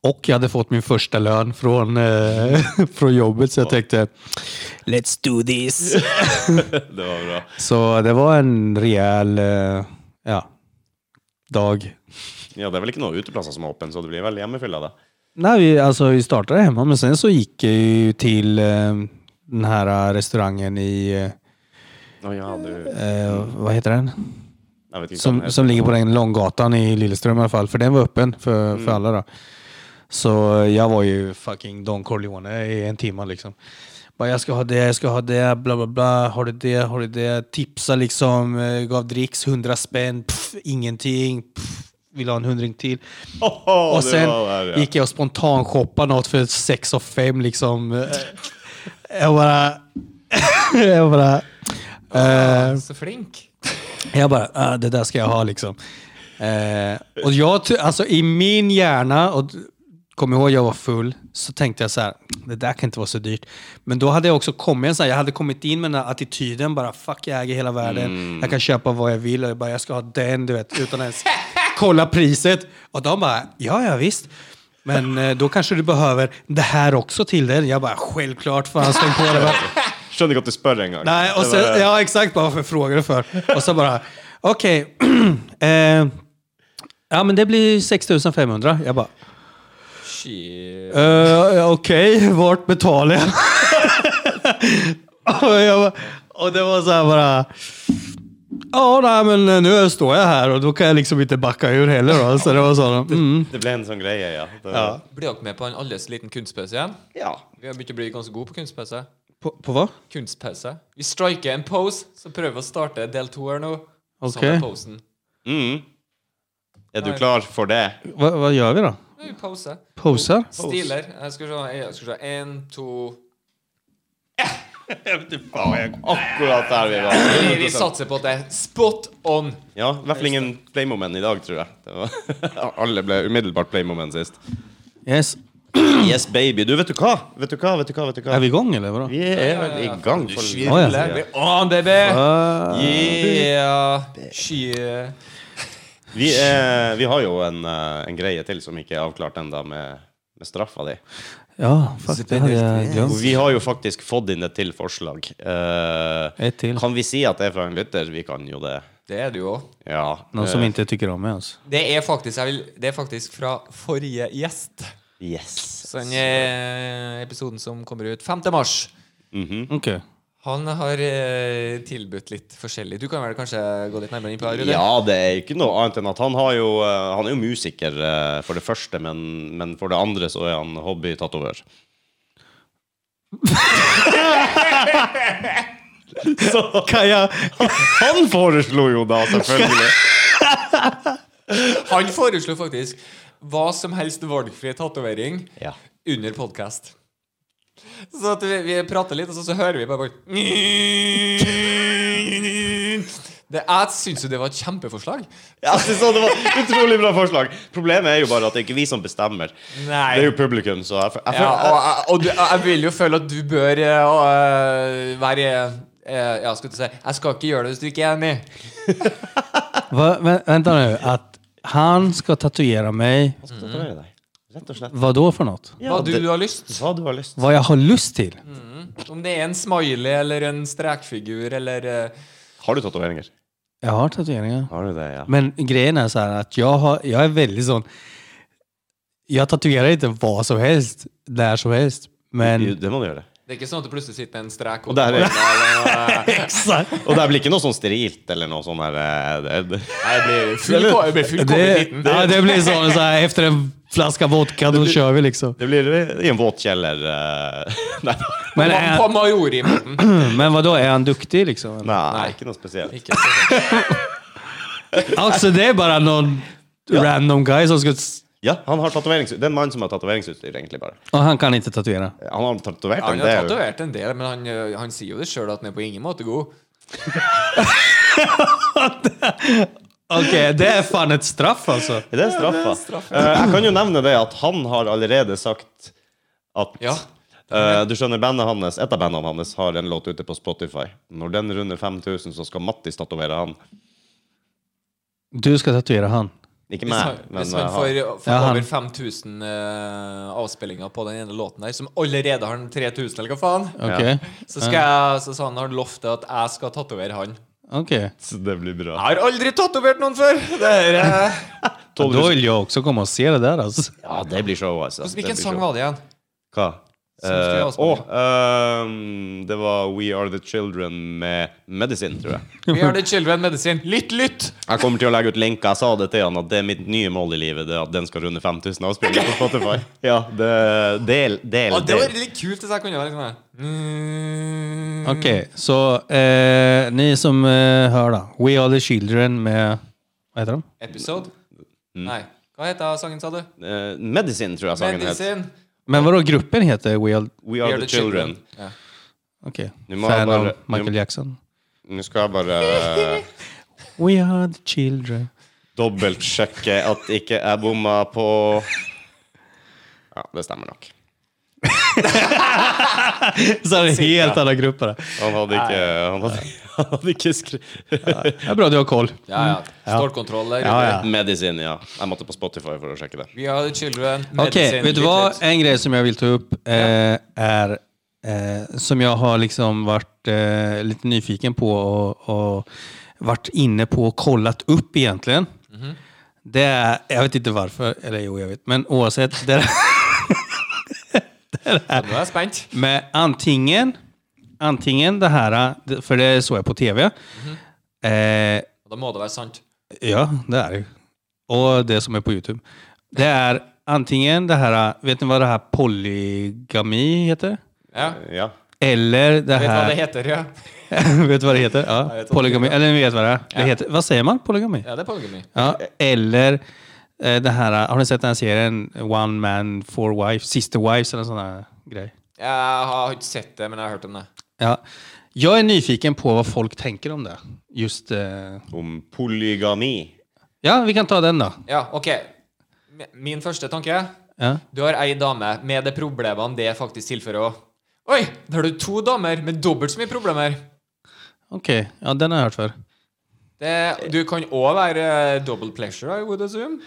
Och jag hade fått min första lön från, eh, från jobbet, så jag tänkte Let's do this! Det var bra. Så det var en rejäl eh, ja, dag. Ja, det er vel ikke noen uteplasser som er åpne, så det blir vel hjemmefylla, da. Nej, vi, alltså, vi startade hemma, men sen så gick jag ju till eh, den här restaurangen i... Å ja, du Eh, vad heter den? Jeg vet ikke hva den Som, heter. som ligger på den långgatan i Lillestrøm i alla fall, för den var öppen för, för Mm. alla. Då. Så jag var ju fucking Don Corleone i en timme liksom. Bara, jag ska ha det, jag ska ha det, bla bla bla, har du det, har du det, tipsa liksom, eh, gav dricks, 100 spänn, pff, ingenting, pff, vill ha en hundring till. Åhå, Och det sen var der, ja. gick jag och spontanshoppade något för sex och fem liksom. Eh, Jag bara... jag bara... eh, Så flink. jag bara, ah, det där ska jag ha liksom. Eh, och jag, ty- alltså i min hjärna, och d- kom ihåg jag var full, så tänkte jag så här, det där kan inte vara så dyrt. Men då hade jag också kommit, så här, jag hade kommit in med den här attityden, bara fuck jag äger hela världen, jag kan köpa vad jag vill och jag bara, jag ska ha den, du vet, utan ens kolla priset. Och de bara, ja ja visst. Men eh, då kanske du behöver det här också till den. Jag bara, självklart, fan släng på det. Bara, Skjønner ikke at du spør engang. Nej, och sen, ja exakt bara varför frågar du för? Och så bara, okej. eh, ja men det blir 6500. Jag bara, Shit. eh, okej, vart betalar jag? och, jag bara, och det var så här bara, ja nej men nu står jag här och då kan jag liksom inte backa ur heller då. Så det var så, mm. Det ble en sånn greie, ja. Det, Ja. Blir dere med på en alles liten kunstpause igjen? ja. Vi har begynt å bli ganske gode på kunstpause. På, på vad? Kunstpause. Vi striker en pose, så prøver vi å starte del to her nå. Ok. Samme posen. Mm. Er du Nei. klar for det? Va, vad gör vi då? Ja, Vi poser. Posar? Stiler. Jeg skal se. Jeg skal se. En, to Jeg vet ikke faen, jeg akkurat der vi var. Vi, vi satser på at det er spot on. Ja, i hvert fall ingen playmoment i dag, tror jeg. Det var, alle ble umiddelbart playmoment sist. Yes. Yes, baby. Du, vet du hva? Vet du hva? Vet du hva? Vet du hva? Är vi igång eller vadå? Vi er vel i gang. Du for- svindler. ja. Vi er on, baby! Ah. Yeah. Sky. Vi, er, vi har jo en, eh, en greie til som ikke er avklart ennå, med, med straffa di. ja, fast det hade jag Og glömt. vi har jo faktisk fått inn et til forslag. Eh, Ett till. kan vi si at det er fra en lytter? Vi kan jo det. Det är det ju också. Ja. Någon eh, som inte tycker om mig alltså. Det är faktiskt, jag vill, det är faktisk fra forrige gjest. Yes. Så den eh, episoden som kommer ut 5. mars. Okej. Han har eh, tilbudt litt forskjellig. Du kan vel kanskje gå litt nærmere inn på det? Rune? Ja, det er ikke noe annet enn at han, har jo, eh, han er jo musiker, eh, for det første, men, men for det andre så er han hobbytatovør. så Kan jeg han foreslo jo da, selvfølgelig. Han foreslo faktisk hva som helst valgfri tatovering Ja. under podkast. Så at vi, vi prater litt, og så, så hører vi bare bare- det, Jeg syns jo det var et kjempeforslag. Jeg synes også det var et Utrolig bra forslag. Problemet er jo bare at det er ikke vi som bestemmer. Nei. Det er jo publikum, så jeg, jeg, Ja, og, jeg- og du, jeg vil jo føle at du bør eh, og, eh, være eh, Ja, skal du si Jeg skal ikke gjøre det hvis du ikke er enig. Va, vä, vänta nu, att han ska tatuera mig. jeg skal tatovere deg. Rett og slett. Vad då för något? Hva du, det- du har lyst. Hva du har lyst. Vad jag har lust till? Om det er en smiley eller en strekfigur eller eh, Har du tatoveringer? Jag har tatueringar. Har du det, ja. Men grejen är så här att jag, har, jag är väldigt sån... Jag tatuerar inte vad som helst, när som helst. Jo, Men... det må du gjøre. Det er ikke sånn at det plutselig sitter en strek Og der er- Nei, Exakt! Og det blir ikke noe sånn sterilt eller noe sånn her eh, det, det. det blir full- Eller- det blir fullkommen Det, liten. ja, det blir sån så här, efter en flaska vodka, då kör vi liksom. Det blir i en våt kjeller eh, Nei, Men, På, är, på Majorimoten. men vadå, är han duktig liksom? eller? nei ikke noe spesielt. Ikke sånn. Alltså det är bara någon random guy som ska... s- Ja, han har tatueringsutstyr. Det er en mann som har tatoveringsutstyr, egentlig bare. Och han kan inte tatuera. Han har tatovert Han en har del. tatovert en del, men han, eh, han sier jo det sjøl at han er på ingen måte god. Okej, det är fan ett straff alltså. Det er straffa. Eh, jeg kan jo nevne det at han har allerede sagt at Ja. eh, Du skjønner, bandet hans, et av bandene hans har en låt ute på Spotify. Når den runder 5000, så skal Mattis tatovere han. Du ska tatuera han. Ikke Hvis han, meg, men hvis eh, han han. får, får Ja, han- over 5000 eh, avspillinger på den ene låten der, som allerede har den 3000, eller hva faen, Okej. så, skal jeg, så sa han har lovt at jeg skal tatovere han. Okej. Så det blir bra. Jeg har aldri tatovert noen før! Det er, eh, Ja, Då vill jag också komma och se det där alltså. Ja, det blir show, altså. Det Hvilken blir sang show. Alltså, var det igjen? Hva? Som skulle Eh, ha Å, avspilling. ehm, det var We Are The Children med Medicine, tror jeg. We are the children medisin. Lytt, lytt! Jeg kommer til å legge ut linker. Jeg sa det til han at det er mitt nye mål i livet. Det er at den skal runde 5000 avspillinger på Spotify. Ja, det, del, del, Ja, det var del. litt kult hvis jeg kunne være sånn her. Mm. Okej, så eh, ni som eh, hör då. We Are The Children med... Vad heter de? Episode? Mm. Nei. Hva heter sangen, sa du? Eh, Medicine, tror jeg sangen het. Medisin. Men vadå, gruppen heter We Are... We Are The Children. Ja. Okej. Nu må jag Fan av bara- Michael nu- Jackson. Nå skal jeg bare eh, We Are The Children. dobbeltsjekke at ikke jeg bomma på Ja, det stemmer nok. Så är det helt andra grupper. Han hadde ikke, han hadde, han hadde ikke skrevet Det är bra du har koll. Ja, ja. Stålkontroll der. Ja, ja. Medicine, Eh, ja. Jeg måtte på Spotify for å sjekke det. We are the children. Okej, Medisin. vet du Lytt, vad? lytt. En grej som jag vill ta upp eh, är eh, som jag har liksom varit eh, lite nyfiken på och, och varit inne på och kollat upp egentligen. Det är, jag vet inte varför, eller jo jag vet, men oavsett. Det är, Nå er jeg spent. med antingen, antingen det här, eh, för det såg jeg på tv. Eh, Da må det være sant. Ja, det är det ju. Och det som är på Youtube. Det är antingen det här, vet ni vad det här polygami heter? Ja. Ja. Eller Vet det du hva det här... heter? Ja, vet du vad det heter? jag Ja, vet vad polygami. Eller ni vet vad det är. Det heter, vad säger man? Polygami? ja det er polygami. Ja, eller eh, det här, har ni sett den här serien One Man, Four Wives, Sister Wives eller en sån här grej? Jeg har ikke sett det, men jeg har hørt om det. Ja. Jag är nyfiken på vad folk tänker om det. Just... Eh, Om polygami. ja, vi kan ta den då. Ja, ok. Min første tanke Ja. Du har ei dame med de problemene det faktisk tilfører òg. Oi, da har du to damer med dobbelt så mye problemer. Okej, ja den har jag hört för. Det, du kan òg være eh, double pleasure, I would assume.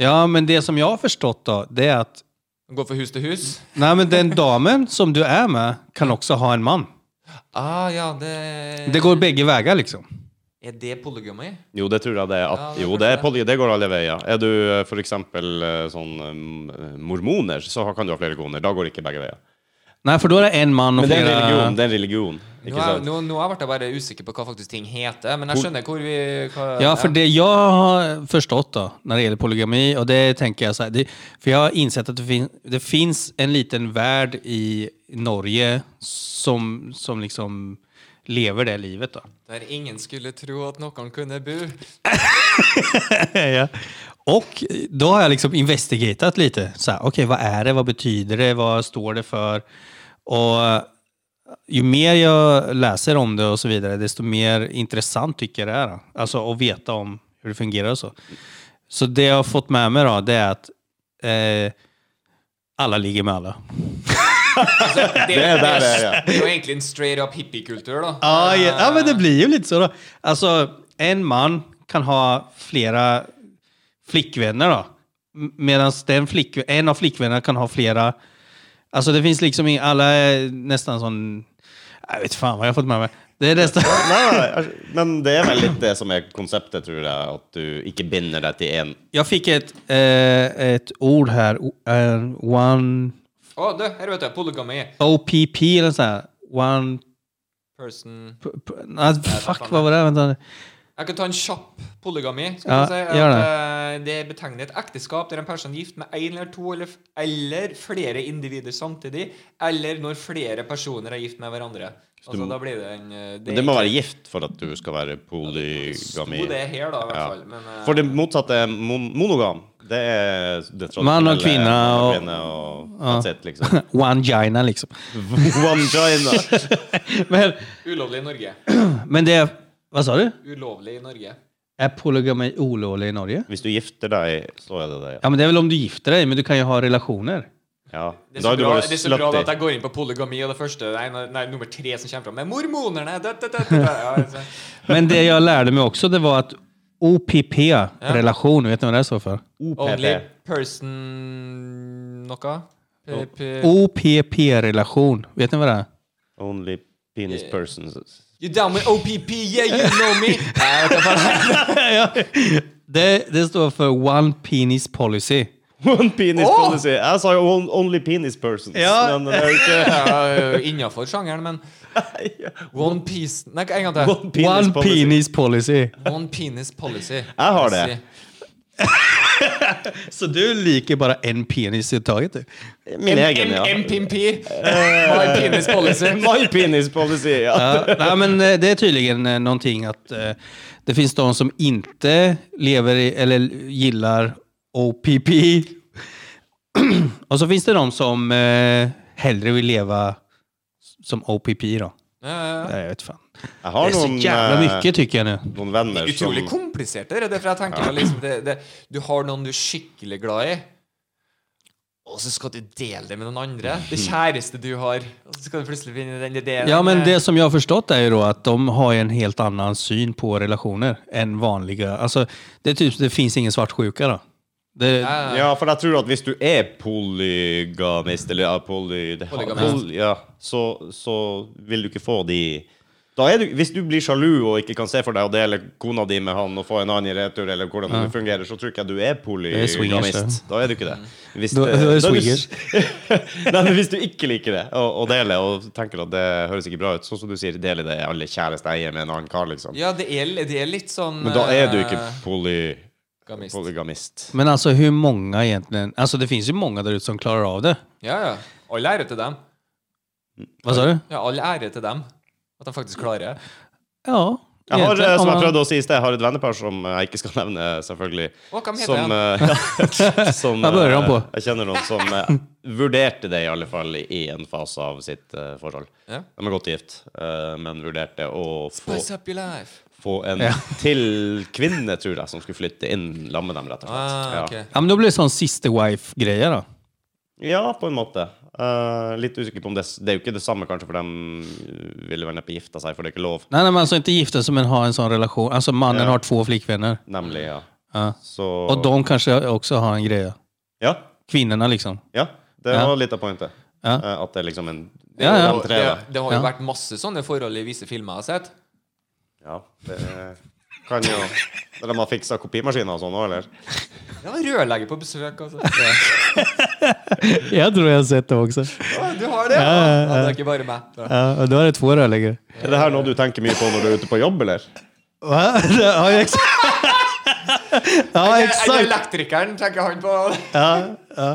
Ja, men det som jag har förstått då, det är att Gå fra hus til hus. Nej, men den damen som du är med kan också ha en man. Ah, ja, det, Det går bägge vägar liksom. Er det polygami? Jo, det tror jeg det er. At, Ja, det er jo, kanskje det, er det. poly, det går alle veier. Er du eh, for eksempel eh, sånn eh, mormoner, så kan du ha flere koner. Da går det ikke begge veier. Nei, for da er det én mann og Men det er en flere religion. Det er en religion ikke Nå, er, sant? nå, nå ble jeg bare usikker på hva faktisk ting heter, men jeg Hvor- skjønner hvor vi hva, Ja, för det jag har förstått då, när det gäller polygami, och det tänker jag så här, det, för jag har insett att det, fin, det finns en liten värld i Norge som, som liksom lever det livet då. Der ingen skulle tro at noen kunne bo. ja. Och då har jag liksom investigatat lite, så här, okej vad är det, vad betyder det, vad står det för? Och eh, ju mer jag läser om det och så vidare, desto mer intressant tycker jag det är. Alltså att veta om hur det fungerar och så. Så det jag har fått med mig då, det är att eh, alla ligger med alla. Det, Det er der det er, ja. Ah. det er jo egentlig en straight up hippiekultur, da. Ja, ja. ja, men det blir ju lite så då. Alltså, en man kan ha flera flickvänner då. Medan den flick, en av flickvännerna kan ha flera... Alltså det finns liksom ing- alla är nästan sån... Jag vet fan vad jag har fått med mig. Det är nästan... Nei, nei, altså, alltså, men det er vel litt det som er konseptet, tror jeg. At du ikke binder deg til én. Jag fick ett, eh, ett ord här. O- eh, One... Å, du, her vet du. Polygami. OPP eller så här. One... Person p- p- nej, fuck, vad var det? Vänta. Jeg kan ta en kjapp polygami. Skal Ja, vi si at, gjør det. eh, det betegner et ekteskap der en person er gift med én eller to eller, f- eller flere individer samtidig, eller når flere personer er gift med hverandre. Altså, da blir det en eh, Men det må være gift for at du skal være polygami. Sto det her, da, i hvert Ja. fall. Men, eh, For det motsatte er mon monogam. Det er det tradisjonelle. Mann og kvinne mann og- kvinne og that's it, liksom. One gina liksom. Vagina. Men, ulovlig i Norge. men det... Vad sa du? Ulovlig i Norge. Är polygami olovlig i Norge? Hvis du gifter deg, så er det det. Ja, men det är väl om du gifter dig, men du kan ju ha relationer. Ja. Det er Da så, er du bra, bare det er så bra at slutty. jeg går inn på polygami, og det første Nei, nei nummer tre som kommer fram, er mormonerne! Da, da, da, da, da. Ja, altså. Men det jag lärde mig också, det var att OPP, relation, vet ni vad det står för? Only OPP. person noe? P- p- OPP-relation, vet ni vad det är? Only penis Eh. persons. You down with OPP, yeah, you know me! Nei, jeg vet ikke hva det er. det, det står för One Penis Policy. One penis Åh! policy. Jeg sa jo on- only penis persons. Ja. Men eh, det er jo ikke Ja, Innafor sjangeren, men One Piece Nei, en gang til. one penis one policy. Penis Policy. One Penis Policy. Jeg har det. Så du liker bara en penis i taget? du? Min egen, ja. MPMP. My Penis Policy. My penis policy, ja. Ja, nej, men eh, det är tydligen eh, någonting att eh, det finns de som inte lever i, eller gillar OPP. Och så finns det de som eh, hellre vill leva som OPP då. Ja, ja, ja. Nej, Jag vet fan. Jeg Det har är så noen, jävla eh, mycket tycker jag nu. noen venner som Utrolig komplisert, det er derfor jeg tenker at liksom, det, det, Du har noen du er skikkelig glad i, og så skal du dele det med noen andre. Det kjæreste du har. Og så skal du plutselig finne den ideen. Ja, men det som jag har förstått är ju då att de har ju en helt annan syn på relationer än vanliga. Alltså, det, är typ, det finns ingen svartsjuka då. Det, Ja, for jeg tror at hvis du er polygamist, eller ja, poly, det, Polygamist. Poly, ja, så, så vil du ikke få de da er du, Hvis du blir sjalu og ikke kan se for deg å dele kona di med han og få en annen i retur, eller hvordan det fungerer, så tror ikke jeg du er er swingers, Mm. polygamist. Da er du ikke det. eh, Hvis Da- det- da er du da swingers. Nei, men hvis du ikke liker det, å å dele, og tenker at det høres ikke bra ut, sånn som du sier, dele det alle kjæreste eier med en annen kar, liksom. Ja, det er, det er litt sånn Men da er du ikke eh, poly, gamist. polygamist. Men alltså hur många egentligen? Alltså det finns ju många där ute som klarar av det. Ja, ja. All ære til dem. Vad sa du? Ja, all ære til dem. At de faktisk klarer det. Ja. Jeg har, egentligen, eh, som om jeg man- prøvde å si i sted, jeg har et vennepar som eh, jeg ikke skal nevne, selvfølgelig. Å, hvem heter Som, han? eh, ja, som, Hva bør han på? eh, Jeg kjenner noen som eh, vurderte det, i alle fall i en fase av sitt eh, forhold. Ja. De er godt gift, eh, men vurderte å få, Spice up your life. få en til kvinne, tror jeg, som skulle flytte inn sammen med dem, rett og slett. Ah, Ja. ok. Ja, men då blir det sån sister wife-grejer då. Ja, på en måte. Eh, litt usikker på om det Det er jo ikke det samme, kanskje, for de ville vel neppe gifta seg, for det er ikke lov. Nej, nej, men alltså inte gifta sig men ha en sån relation. Alltså mannen Ja. har två flickvänner. Nemlig, ja. Ja. Så Och de kanske också har en grej. Ja. Kvinnorna liksom. Ja, det Ja. var litt av pointet. Ja. Eh, At det er liksom en Ja, ja. De tre, Det, da. det har jo Ja. vært masse sånne forhold i visse filmer jeg har sett. Ja, det, Kan jo De har fiksa kopimaskiner og sånn òg, eller? Det var rørlegger på besøk, altså. Jag tror jag har sett det också. Å, du har det? Ja, Ja, ja, ja. det er ikke bare meg. Ja. Ja, och då är det två rörläggare. Er det her noe du tenker mye på når du er ute på jobb, eller? Va? Ja, exakt. Ja, Jeg, jeg, exakt. elektrikeren, tenker han på. Ja, ja.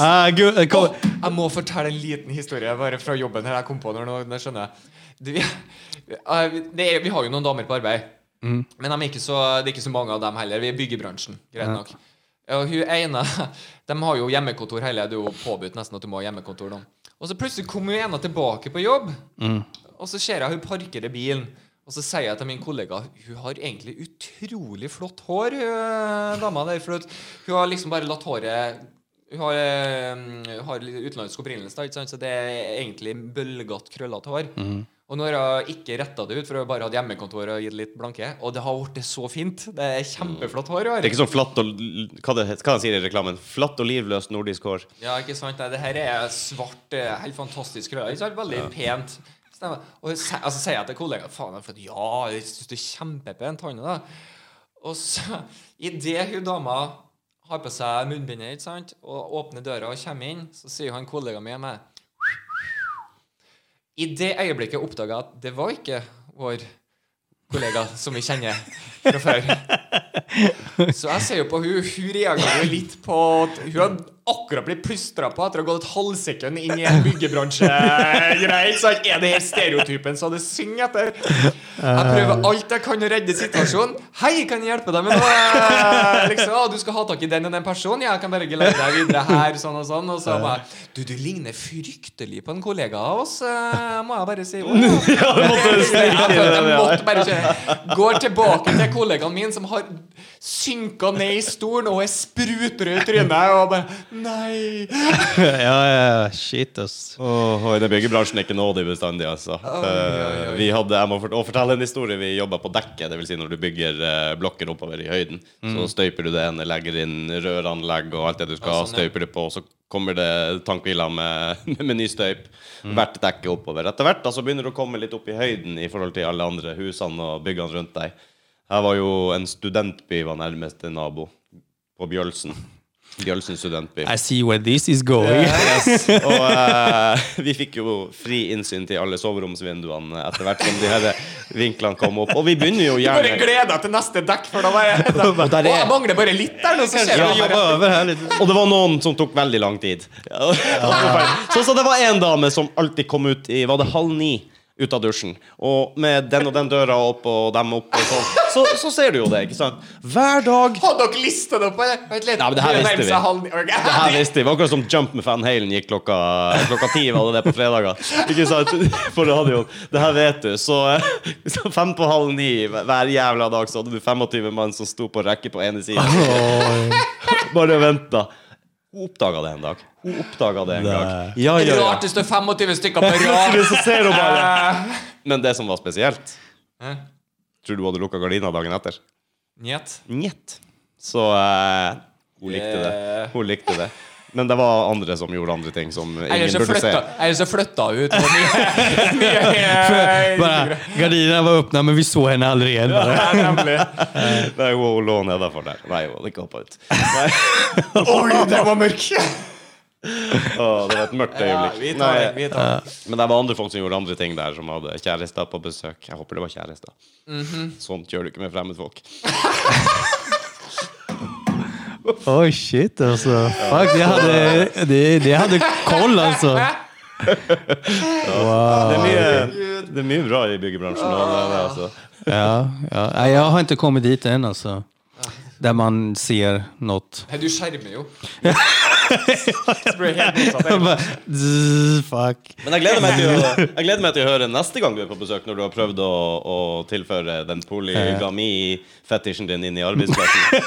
Ah, gud, eh, kom. Jeg må fortelle en liten historie bare fra jobben her jeg kom på. Når, nå- nå skjønner jeg. Du, vi, eh, det er, vi har jo noen damer på arbeid, men de er ikke så, det er ikke så mange av dem heller. Vi er i byggebransjen, greit nok. Og hun ene De har jo hjemmekontor hele. Det er jo påbudt nesten at du må ha hjemmekontor. Da. Og så plutselig kom hun ene tilbake på jobb, og så ser jeg hun parkerer bilen. Og så sier jeg til min kollega hun har egentlig utrolig flott hår, hun eh, dama der. For at hun har liksom bare latt håret hun har, eh, har litt utenlandsk opprinnelse, da, ikke sant? så det er egentlig bølgete, krøllete hår. Mhm. Og nå har jeg ikke retta det ut, for jeg har bare hatt hjemmekontor og gitt litt blanke. Og det har blitt så fint. Det er kjempeflott hår. Det er ikke sånn flatt og Hva, det, hva han sier i reklamen? Flatt og livløst nordisk hår. Ja, ikke sant? Nei, det her er svart, eh, helt fantastisk krøller. Ikke sant? Veldig pent. Stemmer. Og se, altså, sier jeg til kollegaen Faen, jeg er flott. ja, jeg syns det er kjempepent, han da. Og så, idet hun dama har på seg munnbindet ikke sant? og åpner døra og kommer inn, så sier han kollegaen min meg I det øyeblikket oppdaga jeg at det var ikke vår kollega som vi kjenner fra før. Så jeg ser jo på hun, hun reagerer jo litt på at hun har akkurat blitt plystra på etter å ha gått et halvsekund inn i en byggebransjegreie. Så er det her stereotypen så det synger etter. Jeg prøver alt jeg kan å redde situasjonen. Hei, kan jeg hjelpe deg med noe? Liksom, «Å, du skal ha tak i den og den personen. Ja, jeg kan bare lede deg videre her, sånn og sånn. Og så bare Du, du ligner fryktelig på en kollega av oss, eh, må jeg bare si. Å, ja. Jeg følte jeg måtte bare kjøre. Går tilbake til kollegaen min som har synka ned i stolen og er sprutrød i trynet. Og bare Nei! Ja, ja, ja. Shit, ass. Åh, og i den byggebransjen er ikke nådig bestandig, altså. oi, Eh, Vi hadde, jeg må fort å, fortelle en historie. Vi jobba på dekket, dvs. Si når du bygger eh, blokker oppover i høyden. Så støyper du det ene, legger inn røranlegg og alt det du skal Ja, sånn, ja. støyper det på. Så kommer det tankhviler med, med ny støyp. Hvert dekke oppover. Etter hvert da, så begynner du å komme litt opp i høyden i forhold til alle andre husene og byggene rundt deg. Her var jo en studentby var nærmeste nabo. På Bjølsen. Bjølsen studentby. I see where this is going. Yes. Og eh, vi fikk jo fri innsyn til alle soveromsvinduene etter hvert som de her vinklene kom opp. Og vi begynner jo Bare gjerne gled deg til neste dekk, for da bare Og der er- Å, jeg mangler bare litt der nå, så ser Ja, jeg jobba bare över här lite. Og det var noen som tok veldig lang tid. Så, så det var en dame som alltid kom ut i Var det halv ni? Ut av dusjen. Og med den og den døra opp og dem opp og sånn. Så, så ser du jo det, ikke sant? Hver dag Hadde dere lista det opp? eller? Vent litt. Ja, men det her nærmer visste vi. seg halv ni. Ok. Det her visste vi. Det var akkurat som Jump med Van Halen gikk klokka Klokka ti, var det det på fredager. Ikke sant? På radioen. Det her vet du. Så, eh, så fem på halv ni hver jævla dag så hadde du 25 mann som sto på rekke på ene siden. Bare venta. Hun oppdaga det en dag. Hun oppdaga det en gang. Ja, Det er ja, ja. rart det står 25 stykker på Plutselig rad. så ser hun bare Eh, Men det som var spesielt Hæ? Tror du hun hadde lukka gardina dagen etter? Njet. Njet. Så eh, hun likte det. Hun likte det. Men det var andre som gjorde andre ting som Eller ingen så burde se. flytta- eller så flytta hun ut. Det var mye- mye- Bara, gardinerna var öppna men vi såg henne aldrig igen. Bara. Ja, nemlig. Nei, hun, hun lå nedenfor der. Nei, hun hadde ikke hoppa ut. Nei. Oi, det var mørkt! Å, det var et mørkt øyeblikk. Ja, vi tar Nei, den, vi tar den. men det var andre folk som gjorde andre ting der, som hadde kjærester på besøk. Jeg håper det var kjærester. Mhm. Sånt gjør du ikke med fremmedfolk. Oj shit alltså. Fuck, jag hade, det, det hade koll alltså. Ah, Det er mye, det er mye bra i byggebransjen. nå, det er det, alltså. altså. Ja, ja. Nej, Jag har inte kommit dit än alltså. Där man ser något. Nei, du skjermer jo. Så blir det helt motsatt, egentlig. Jag bara, zzz, fuck. Men jeg gleder, meg til å, jeg gleder meg til å høre neste gang du er på besøk, når du har prøvd å, å tilføre den polygami-fetisjen din inn i arbeidsplassen.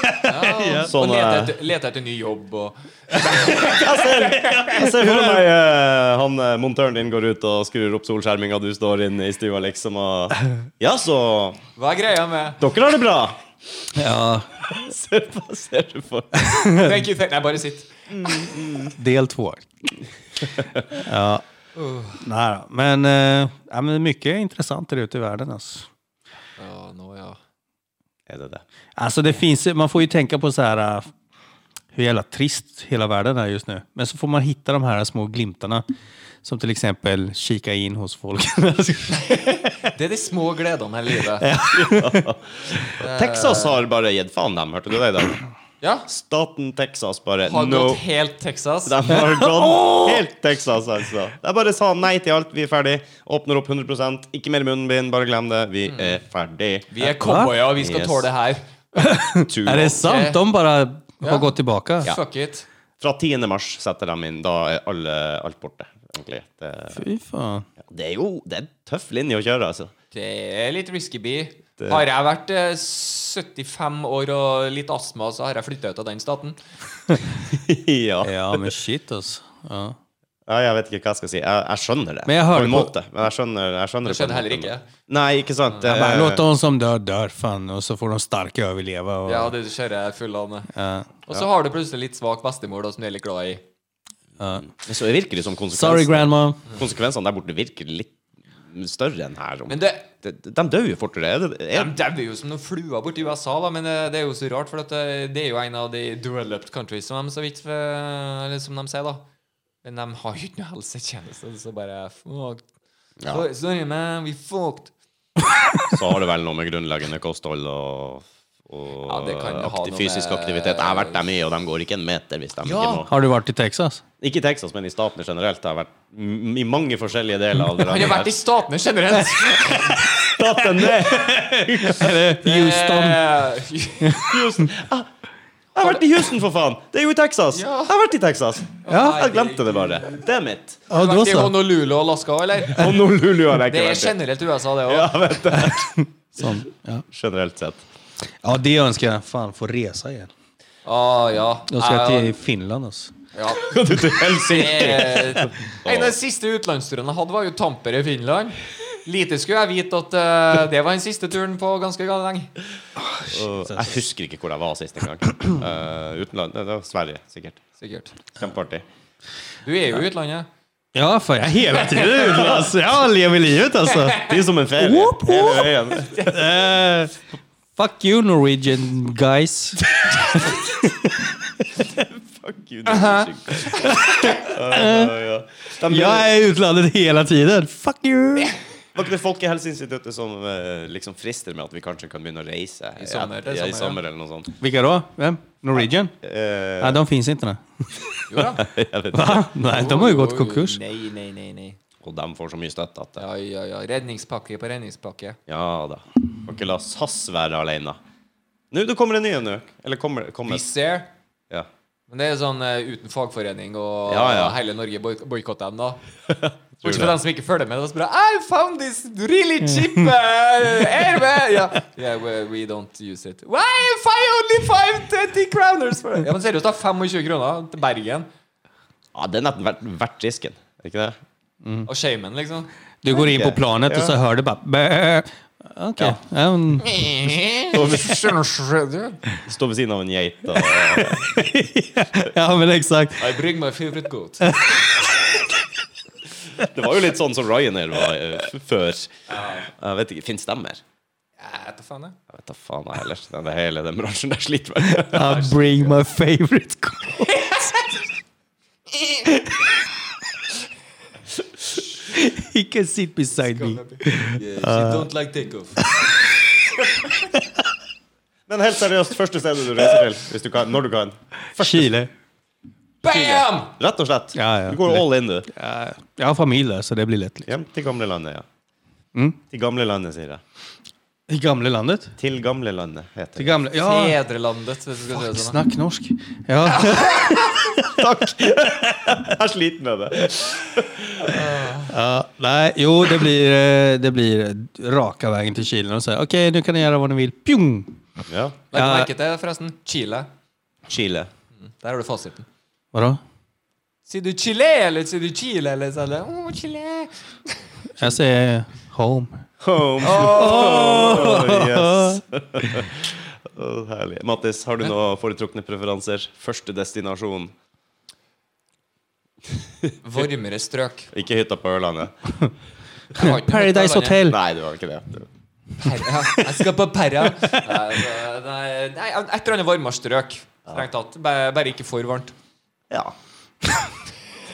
Ja, Sånn, og lete eh, etter, lete etter ny jobb og Jeg ser, jeg ser for meg eh, han eh, montøren din går ut og skrur opp solskjerminga, du står inne i stua liksom og Ja, så Hva er greia med Dere har det bra! Ja, Ser, på, ser du for Thank you, thank Nei, bare sitt. del två. Ja. Nej, då. men, eh, ja, men mycket intressant där ute i världen alltså. Ja, nå, ja. Är det det? Alltså det finns, man får ju tänka på så här äh, hur jävla trist hela världen är just nu. Men så får man hitta de här små glimtarna. Som till exempel kika in hos folk. Det är de små glädjene i livet. Eh. Texas har bare gitt faen dem, hørte du det i dag? Ja. Staten Texas bare Har no. gått helt Texas. De har gått helt Texas, altså. De bare sa nei til alt, vi er ferdig. Åpner opp 100 ikke mer munnbind, bare glem det. Vi er ferdig. Vi er cowboyer, vi skal Yes. tåle det her. Tur. är det sant? De bara har Ja. gått tillbaka. Fuck it. Fra 10. mars setter de eh, inn, da er alle, alt borte. Egentlig. Det, Fy fan. det er jo det er en tøff linje alltså. å kjøre, altså. Det er litt risky bee. Har jeg vært eh, 75 år og litt astma, så har jeg flytta ut av den staten. ja. Ja men shit alltså. Ja. Ja, jeg vet ikke hva jeg skal si. Jeg, jeg skjønner det. Men jeg hører på en på- måte. Men jeg skjønner, jeg skjønner Det skjedde på en heller måte. ikke. Nei, ikke sant. Ja, bara, Eh, låt de som dör dör fan och så får de starka överleva. Och, Ja, det kjører jeg full av med. ja. Og så har du plutselig litt svak bestemor da, som du er litt glad i. Så det virker det som Sorry konsekvensene, grandma. konsekvensene der borte virker litt større enn her. Om. Men det, de, de dør jo fortere. Er det, de er, dauer jo som noen fluer borti USA, da, men eh, det er jo så rart, for at eh, det er jo en av de developed countries som de, så vidt, eh, eller som de sier, da. Men de har jo ikke noe helsetjeneste, så bare fuck. Ja. Sorry, sorry, man, we fucked. så har det vel noe med grunnleggende kosthold og, og Ja, det kan jo ha aktiv, noe fysisk med- aktivitet. Jeg har vært der mye, og de går ikke en meter hvis Ja. de ikke må. Har du varit i Texas? Ikke i Texas, men i statene generelt. Jeg har vært m- i mange forskjellige deler av det Han har vært i statene generelt. statene! Houston. Eh, Houston. Ah, Jeg har vært i Houston, for faen! Det er jo i Texas! Ja. Jeg har vært i Texas! Ja. Jeg glemte det bare. Damn it! Ja, Har du då vært i så. Honolulu og Alaska, eller? Og Nordlulu har jeg Det ikke er vært i. generelt USA, det Ja, òg. vet det. Sån, ja. Generelt sett. ja det önskar jag. Fan få resa igen. Ah, ja. Då ska jag Eh, till Finland alltså. ja. Du til Helsinki! Eh, En av de siste utenlandsturene jeg hadde, var jo Tampere, Finland. Lite skulle jeg vite at eh, det var den siste turen på ganske lenge. Og Jeg äh, husker ikke hvor jeg var sist en gang. Eh, utenland. Det var Sverige, sikkert. Sikkert. Kjempeartig. Du er jo i utlandet. Ja, fan, jag är hela tiden utomlands. Jag lever livet alltså. Det er som en ferie. Whoop, whoop. Hele veien. Eh, fuck you Norwegian guys. Fuck you, det er så sykt. Eh, ja. De, Jag är i utlandet hela tiden. Fuck you! Var ikke det Folkehelseinstituttet som eh, liksom frister med at vi kanskje kan begynne å reise? I sommer, det Ja, er i sommer, sommer eller noe sånt. Vilka då? Vem? Norwegian? Eh, Nej, de finns inte nu. Jo da. jeg vet ikke. Nej, de har ju gått konkurs. Nei, nei, nei. nei. Og de får så mye støtte at det Ja, ja, ja. Redningspakke på redningspakke. Ja da. Kan ikke la SAS være alene. Nå, det kommer en ny en, nå. Eller kommer, kommer. Wizz Air. Ja. Men det er sånn eh, uten fagforening, og Ja, ja. og hele Norge boik- boikotter dem, da. Bortsett det. fra dem som ikke følger med. Da så bare I found this really cheap uh, airway. Ja, yeah, we, we don't use it. Why if I only five 20 kroners for it? Ja, men seriøst, da. 25 kroner til Bergen. ja, det er nesten verdt, verdt risken. Er ikke det? Og shamen, liksom. Du går in på planet och så hör du bara... "Bä." Okej. Ja, men- I Stå ved siden av en geit og ja. ja, men exakt. bring my favorite goat. Det var jo litt sånn som Ryanair var eh, f- før. Jeg vet ikke, Fins de mer? Jeg vet da faen, jeg. Jeg vet da faen jeg heller. Den det hele den bransjen der sliter vel. I bring my favorite goat. He can sit beside me. Yeah, she don't like takeoff. Men helt seriøst, første stedet du reiser til, hvis du kan, når du kan. Chile. Bam! Rett og slett. Ja, ja. Du går all in, du. Ja, jag har familj där, så det blir lätt. Hjem til gamlelandet, ja. Til gamlelandet, sier jeg. I gamla landet? Til gamlelandet, heter Det det. gamla... Ja, Fedrelandet, hvis du skal si det sånn. snack norsk. Ja. Takk! Jeg er sliten med det. ja, nej, jo, det blir, eh, det blir raka vägen till Chile och säga okej, nu kan ni göra vad ni vill. Pjong! Ja. Legg Ja. merke til, forresten, Chile. Chile. Der har du fasiten. Vadå? Sier du Chile, eller sier du Chile, eller sier du oh, Chile? Jag säger home. Home. Oh, yes. Å, herlig. Mattis, har du noen foretrukne preferanser? Første destinasjon? Varmere strøk. Ikke hytta på Ørlandet. Jeg har ikke noe Paradise på Ørlandet. Hotel. Nei, det var ikke det. Perra. Jeg skal på perra. Nei, det- nei, nei, Et eller annet varmere strøk. Strengt tatt. Bare, bare ikke for varmt. Ja.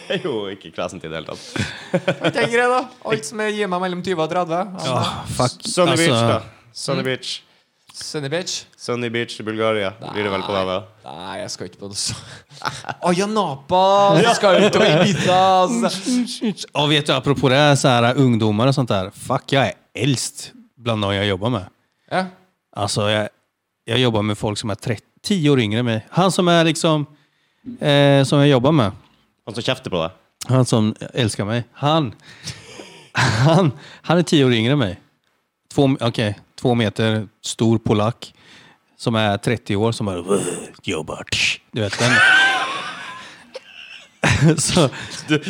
Det er jo ikke klesent i det hele tatt. Jeg tenker jeg da Alt som jeg gir meg mellom 20 og 30. Altså, Fuck. Alltså, Sunny Beach, Mm. Altså, da. Sunny Beach. Sunny Beach. Sunny Beach i Bulgaria. Blir det vel på det, da? Nei, jeg skal ikke på det. så Aya Napa! Du skal ut og Ibiza! Altså. Och vet du, apropå det, här, så här, ungdomar och sånt där. Fuck, jag är äldst bland de jag jobbar med. Ja. Alltså, jag, jag jobbar med folk som är 30, 10 år yngre än mig. Han som är liksom, eh, som jag jobbar med. Han som kjefter på deg? Han som älskar mig. Han, han, han är 10 år yngre än mig. Två, okej, två meter, stor polack. Som är 30 år, som bara jobbar. Du vet den. så,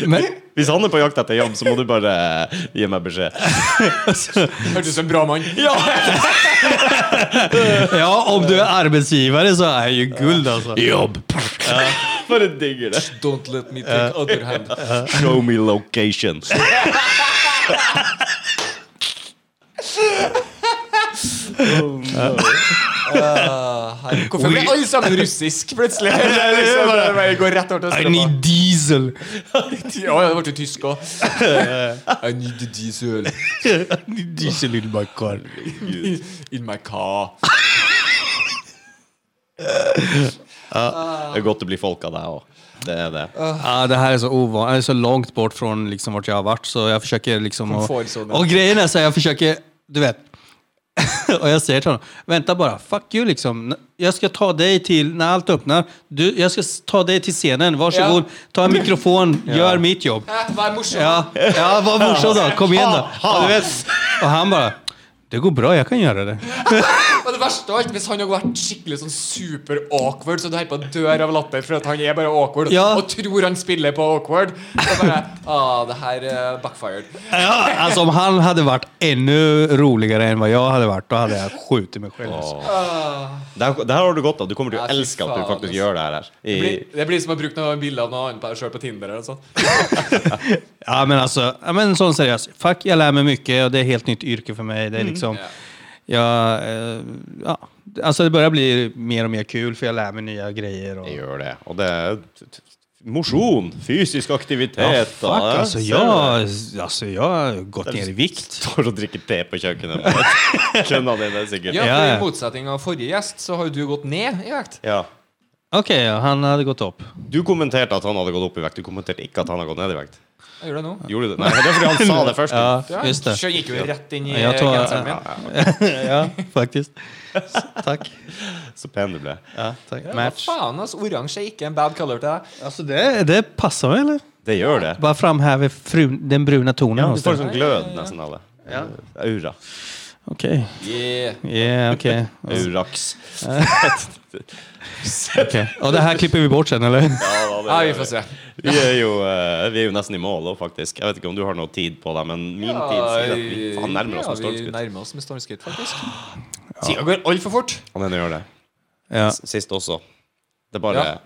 men, Hvis han er på jakt etter jobb, så må du bare eh, gi meg beskjed. Hørtes ut som en bra mann. Ja, om du är arbetsgivare så är ju guld alltså. Jobb. Bare digger det. Don't let me take other hand. Show me location. Ah, her- Hvorfor ble alle sammen russisk plutselig? Det er liksom bare- bare går rett over til I need strømma. diesel. Ja, ja, det ble jo tysk òg. I need the diesel I need diesel in my car. in my car. Det er godt å bli folk av deg òg. Det er det. Ja, det här är så ovanligt, det är så långt bort från liksom vart jag har varit så jag försöker liksom... Och, Komfortzonen. och grejen är så här, jag försöker, du vet. och jag säger till honom, vänta bara, fuck you liksom. Jag ska ta dig till, när allt öppnar, du, jag ska s- ta dig till scenen, varsågod, ta en mikrofon, gör mitt jobb. Eh, Vær morsom. Ja, ja var morsan då, kom igen då. Och, du vet, och han bara, det går bra, jag kan göra det. Men det verste av alt, hvis han hadde vært skikkelig sånn super awkward, så du holder på å dø av latter for at han er bare awkward, Ja. og tror han spiller på awkward, så bare ah, det her eh, backfired. Ja, alltså om han hade varit ännu roligare än vad jag hade varit, då hade jag skjutit mig själv. Alltså. Det her, det her har du godt av. Du kommer til Ja, å fy elske at du faen, faktisk ass. gjør det her. I, Det blir, det blir som å bruke noen bilder av noe annet på deg sjøl på Tinder eller noe sånt. Ja, men alltså, ja, men sån seriös. Fuck, jag lär mig mycket och det är ett helt nytt yrke för mig. Det Mm. är liksom, Ja. jag, eh, ja, alltså det börjar bli mer och mer kul för jag lär mig nya grejer. Och, jeg gjør det. Og det er t- t- mosjon, fysisk aktivitet ja, fuck, da. alltså, Ser du jag, alltså jeg har gått ner i det? vikt. Står og drikker te på kjøkkenet. bare. Skjønner det, det er sikkert. Ja, Ja. for ja. I motsetning av forrige gjest, så har jo du gått ned i vekt. Okej, ja, han hade gått upp. Du kommenterte at han hadde gått opp i vekt. Du kommenterte ikke at han hadde gått ned i vekt. Jeg gjør det nå. Gjorde du det? Nei, det er fordi han sa det først. Ja, Ja, just det. Så jeg gikk jo rett inn i Ja, jeg tror- genseren min. ja, faktiskt. Så, tack. Så pen du ble. Ja, tack. Hva Match. faen, altså? Oransje er ikke en bad color til deg. Alltså det, det passar mig eller? Det gjør det. Bara framhäver frun, den bruna tonen Ja, du hos får liksom dig. sånn glød nesten av det. Aura. Okej. Yeah. Yeah, okej. Aurax. Okej. Och det här klipper vi bort sen eller? Ja, vi får se. Vi er jo, eh, vi er jo nesten i mål òg, faktisk. Jeg vet ikke om du har noe tid på deg, men min tid sier at vi faen nærmer oss ja, med Vi stormskudd. nærmer oss med stormskritt, faktisk. Tida går altfor fort. Han ene gjør det. Ja. S- Sist også. Det er bare Ja.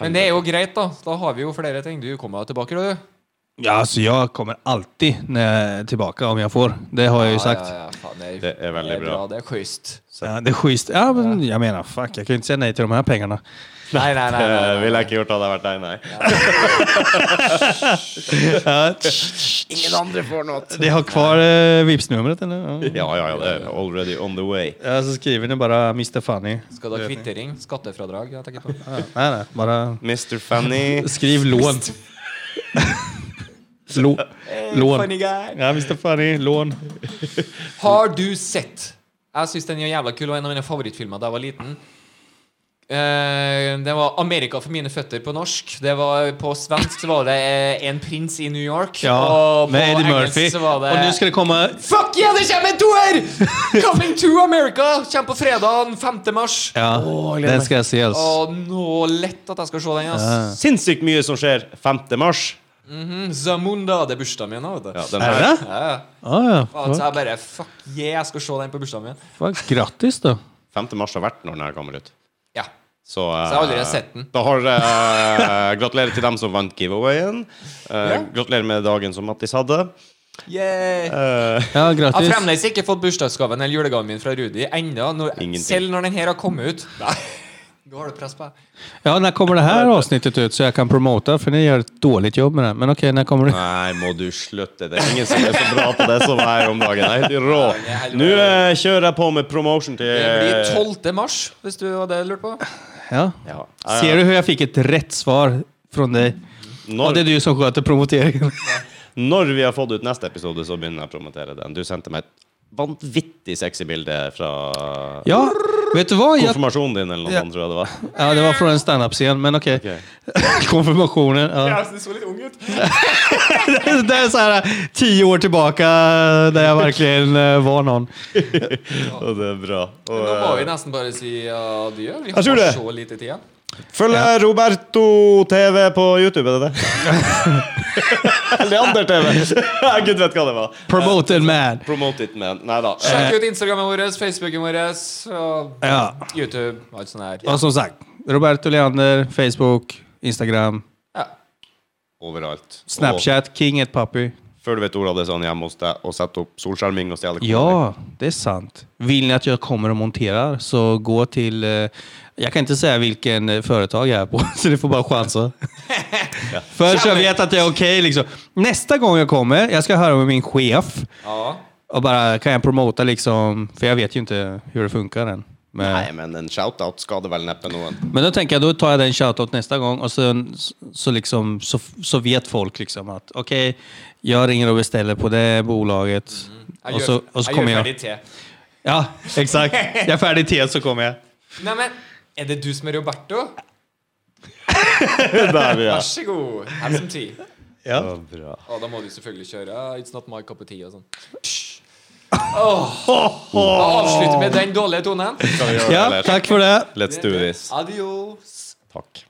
Men det er jo greit, da. Da har vi jo flere ting. Du kommer jo tilbake, da, du. Ja, alltså jag kommer alltid när jag är tillbaka om jag får. Det har jag ju sagt. Ja, Ja, ja, ja, faen, det, er, Det er veldig det er bra. bra. Det er kyst. det är schysst. Ja, men jag menar, fuck, jag kan ju inte säga nej till de här pengarna. Nei, nei, nei. nei, Eh, nei. Ville jeg ikke gjort hadde jeg vært deg, nei. Ingen andre får noe. Det har kvar eh, Vipps-numret eller? Ja. Ja, ja, ja. Det er already on the way. Ja, så skriver ni bara Mr. Funny. Skal du ha kvittering? Skattefradrag? Jeg tenker på. Ja, nej, nej, bara Mr. Fanny. skriv lån. Lå- lån. guy. Eh, Ja, Mr. Funny, lån. Har du sett Jeg syns den er jævla kul, og en av mine favorittfilmer da jeg var liten. Eh, det var 'Amerika for mine føtter' på norsk. Det var, på svensk så var det eh, 'En prins i New York'. Ja, og med på Eddie engelsk Murphy. så var det Och nu ska det komma... Fuck yeah, det kommer en toer! Coming to America kommer på fredag 5. mars. Ja, den ska jag se Å, alltså. nå lett at jeg skal se den. ass Sinnssykt mye som skjer 5. mars. Mm, Zamunda, det er bursdagen min. nå, Vet du. Ja, den Är her. det? Ja. ja. Ja, Faen, ja. så jeg bare Fuck yeah, jeg skal se den på bursdagen min. Fuck, grattis då. 5. mars har vært når den her kommer ut. Ja. Så, Så jeg har allerede sett den. Da har eh, Gratulerer til dem som vant giveawayen. Eh, Ja. Gratulerer med dagen som Mattis hadde. Eh, Yay. Ja, Jeg har grattis. fremdeles ikke fått bursdagsgaven eller julegaven min fra Rudi ennå. når- Ingenting. Selv når den her har kommet ut. Nei. Nå har du press på deg. Ja, när kommer det här avsnittet ut så jag kan promota? För ni gör ett dåligt jobb med det. Men okej, när kommer det? Nei, må du slutte. Det er ingen som er så bra på det som jeg er om dagen. Jeg er helt rå. Nå eh, kjører jeg på med promotion til Det blir 12. mars, hvis du hadde lurt på. Eh. Ja. Ja. Eh, Ser du hur jag fick ett rätt svar från dig? Ja, det Når, är du som sköter promoteringen. når vi har fått ut neste episode, så begynner jeg å promotere den. Du sendte meg et vanvittig sexy bilde fra Ja, vet du vad? Jag, konfirmasjonen din, eller noe Ja. sånt, tror jeg det var. ja, det var från en standup-scen, men okej. Ok. Konfirmationen. Ja. du så litt ung ut. Det är så här tio år tillbaka där jag verkligen eh, var någon. Og det er bra. Og, Nå må vi eh, nesten bare si adjø. Vi Jeg har tror det. så lite tid. følg eh, Roberto TV på YouTube, er det det? Leander TV. Ja, Gud vet hva det var. Promoted man. Promote it, man. Nei da. Sjekk ut Instagrammen vår, Facebooken vår, og Eh. Ja. YouTube. Alt sånt her. Och som sagt, Roberto Leander, Facebook, Instagram, Ja. Overalt. Snapchat, King ett Puppy. Før du vet ordet av det, så er han hjemme hos deg og setter opp solskjerming og stjeler Ja, det är sant. Vill ni att jag kommer och monterar så gå till... Eh, jag kan inte säga vilken eh, företag jag är på, så ni får bara chansa. För så jag vet att det är okej. liksom. Nästa gång jag kommer, jag ska höra med min chef ja. och bara kan jag promota liksom, för jag vet ju inte hur det funkar än. Men, Nei, men en shout-out skader vel neppe noen. men då tänker jag, då tar jag den shoutout nästa gång och sen, så, liksom, så, så vet folk liksom att okej, jag ringer och beställer på det bolaget. Jeg Och så, og så jeg kommer gjør jag. ferdig te. Ja, exakt. Jag är färdig till så kommer jag. Nei, men er det du som er Roberto? Der, ja. Vær så god. Have some tea. Ja. bra. Og da må du selvfølgelig kjøre It's not my cup of tea og sånn. Avslutte med den dårlige tonen. Skal vi gjøre det, ja, eller? tack för det. Let's do this. Adios. Takk.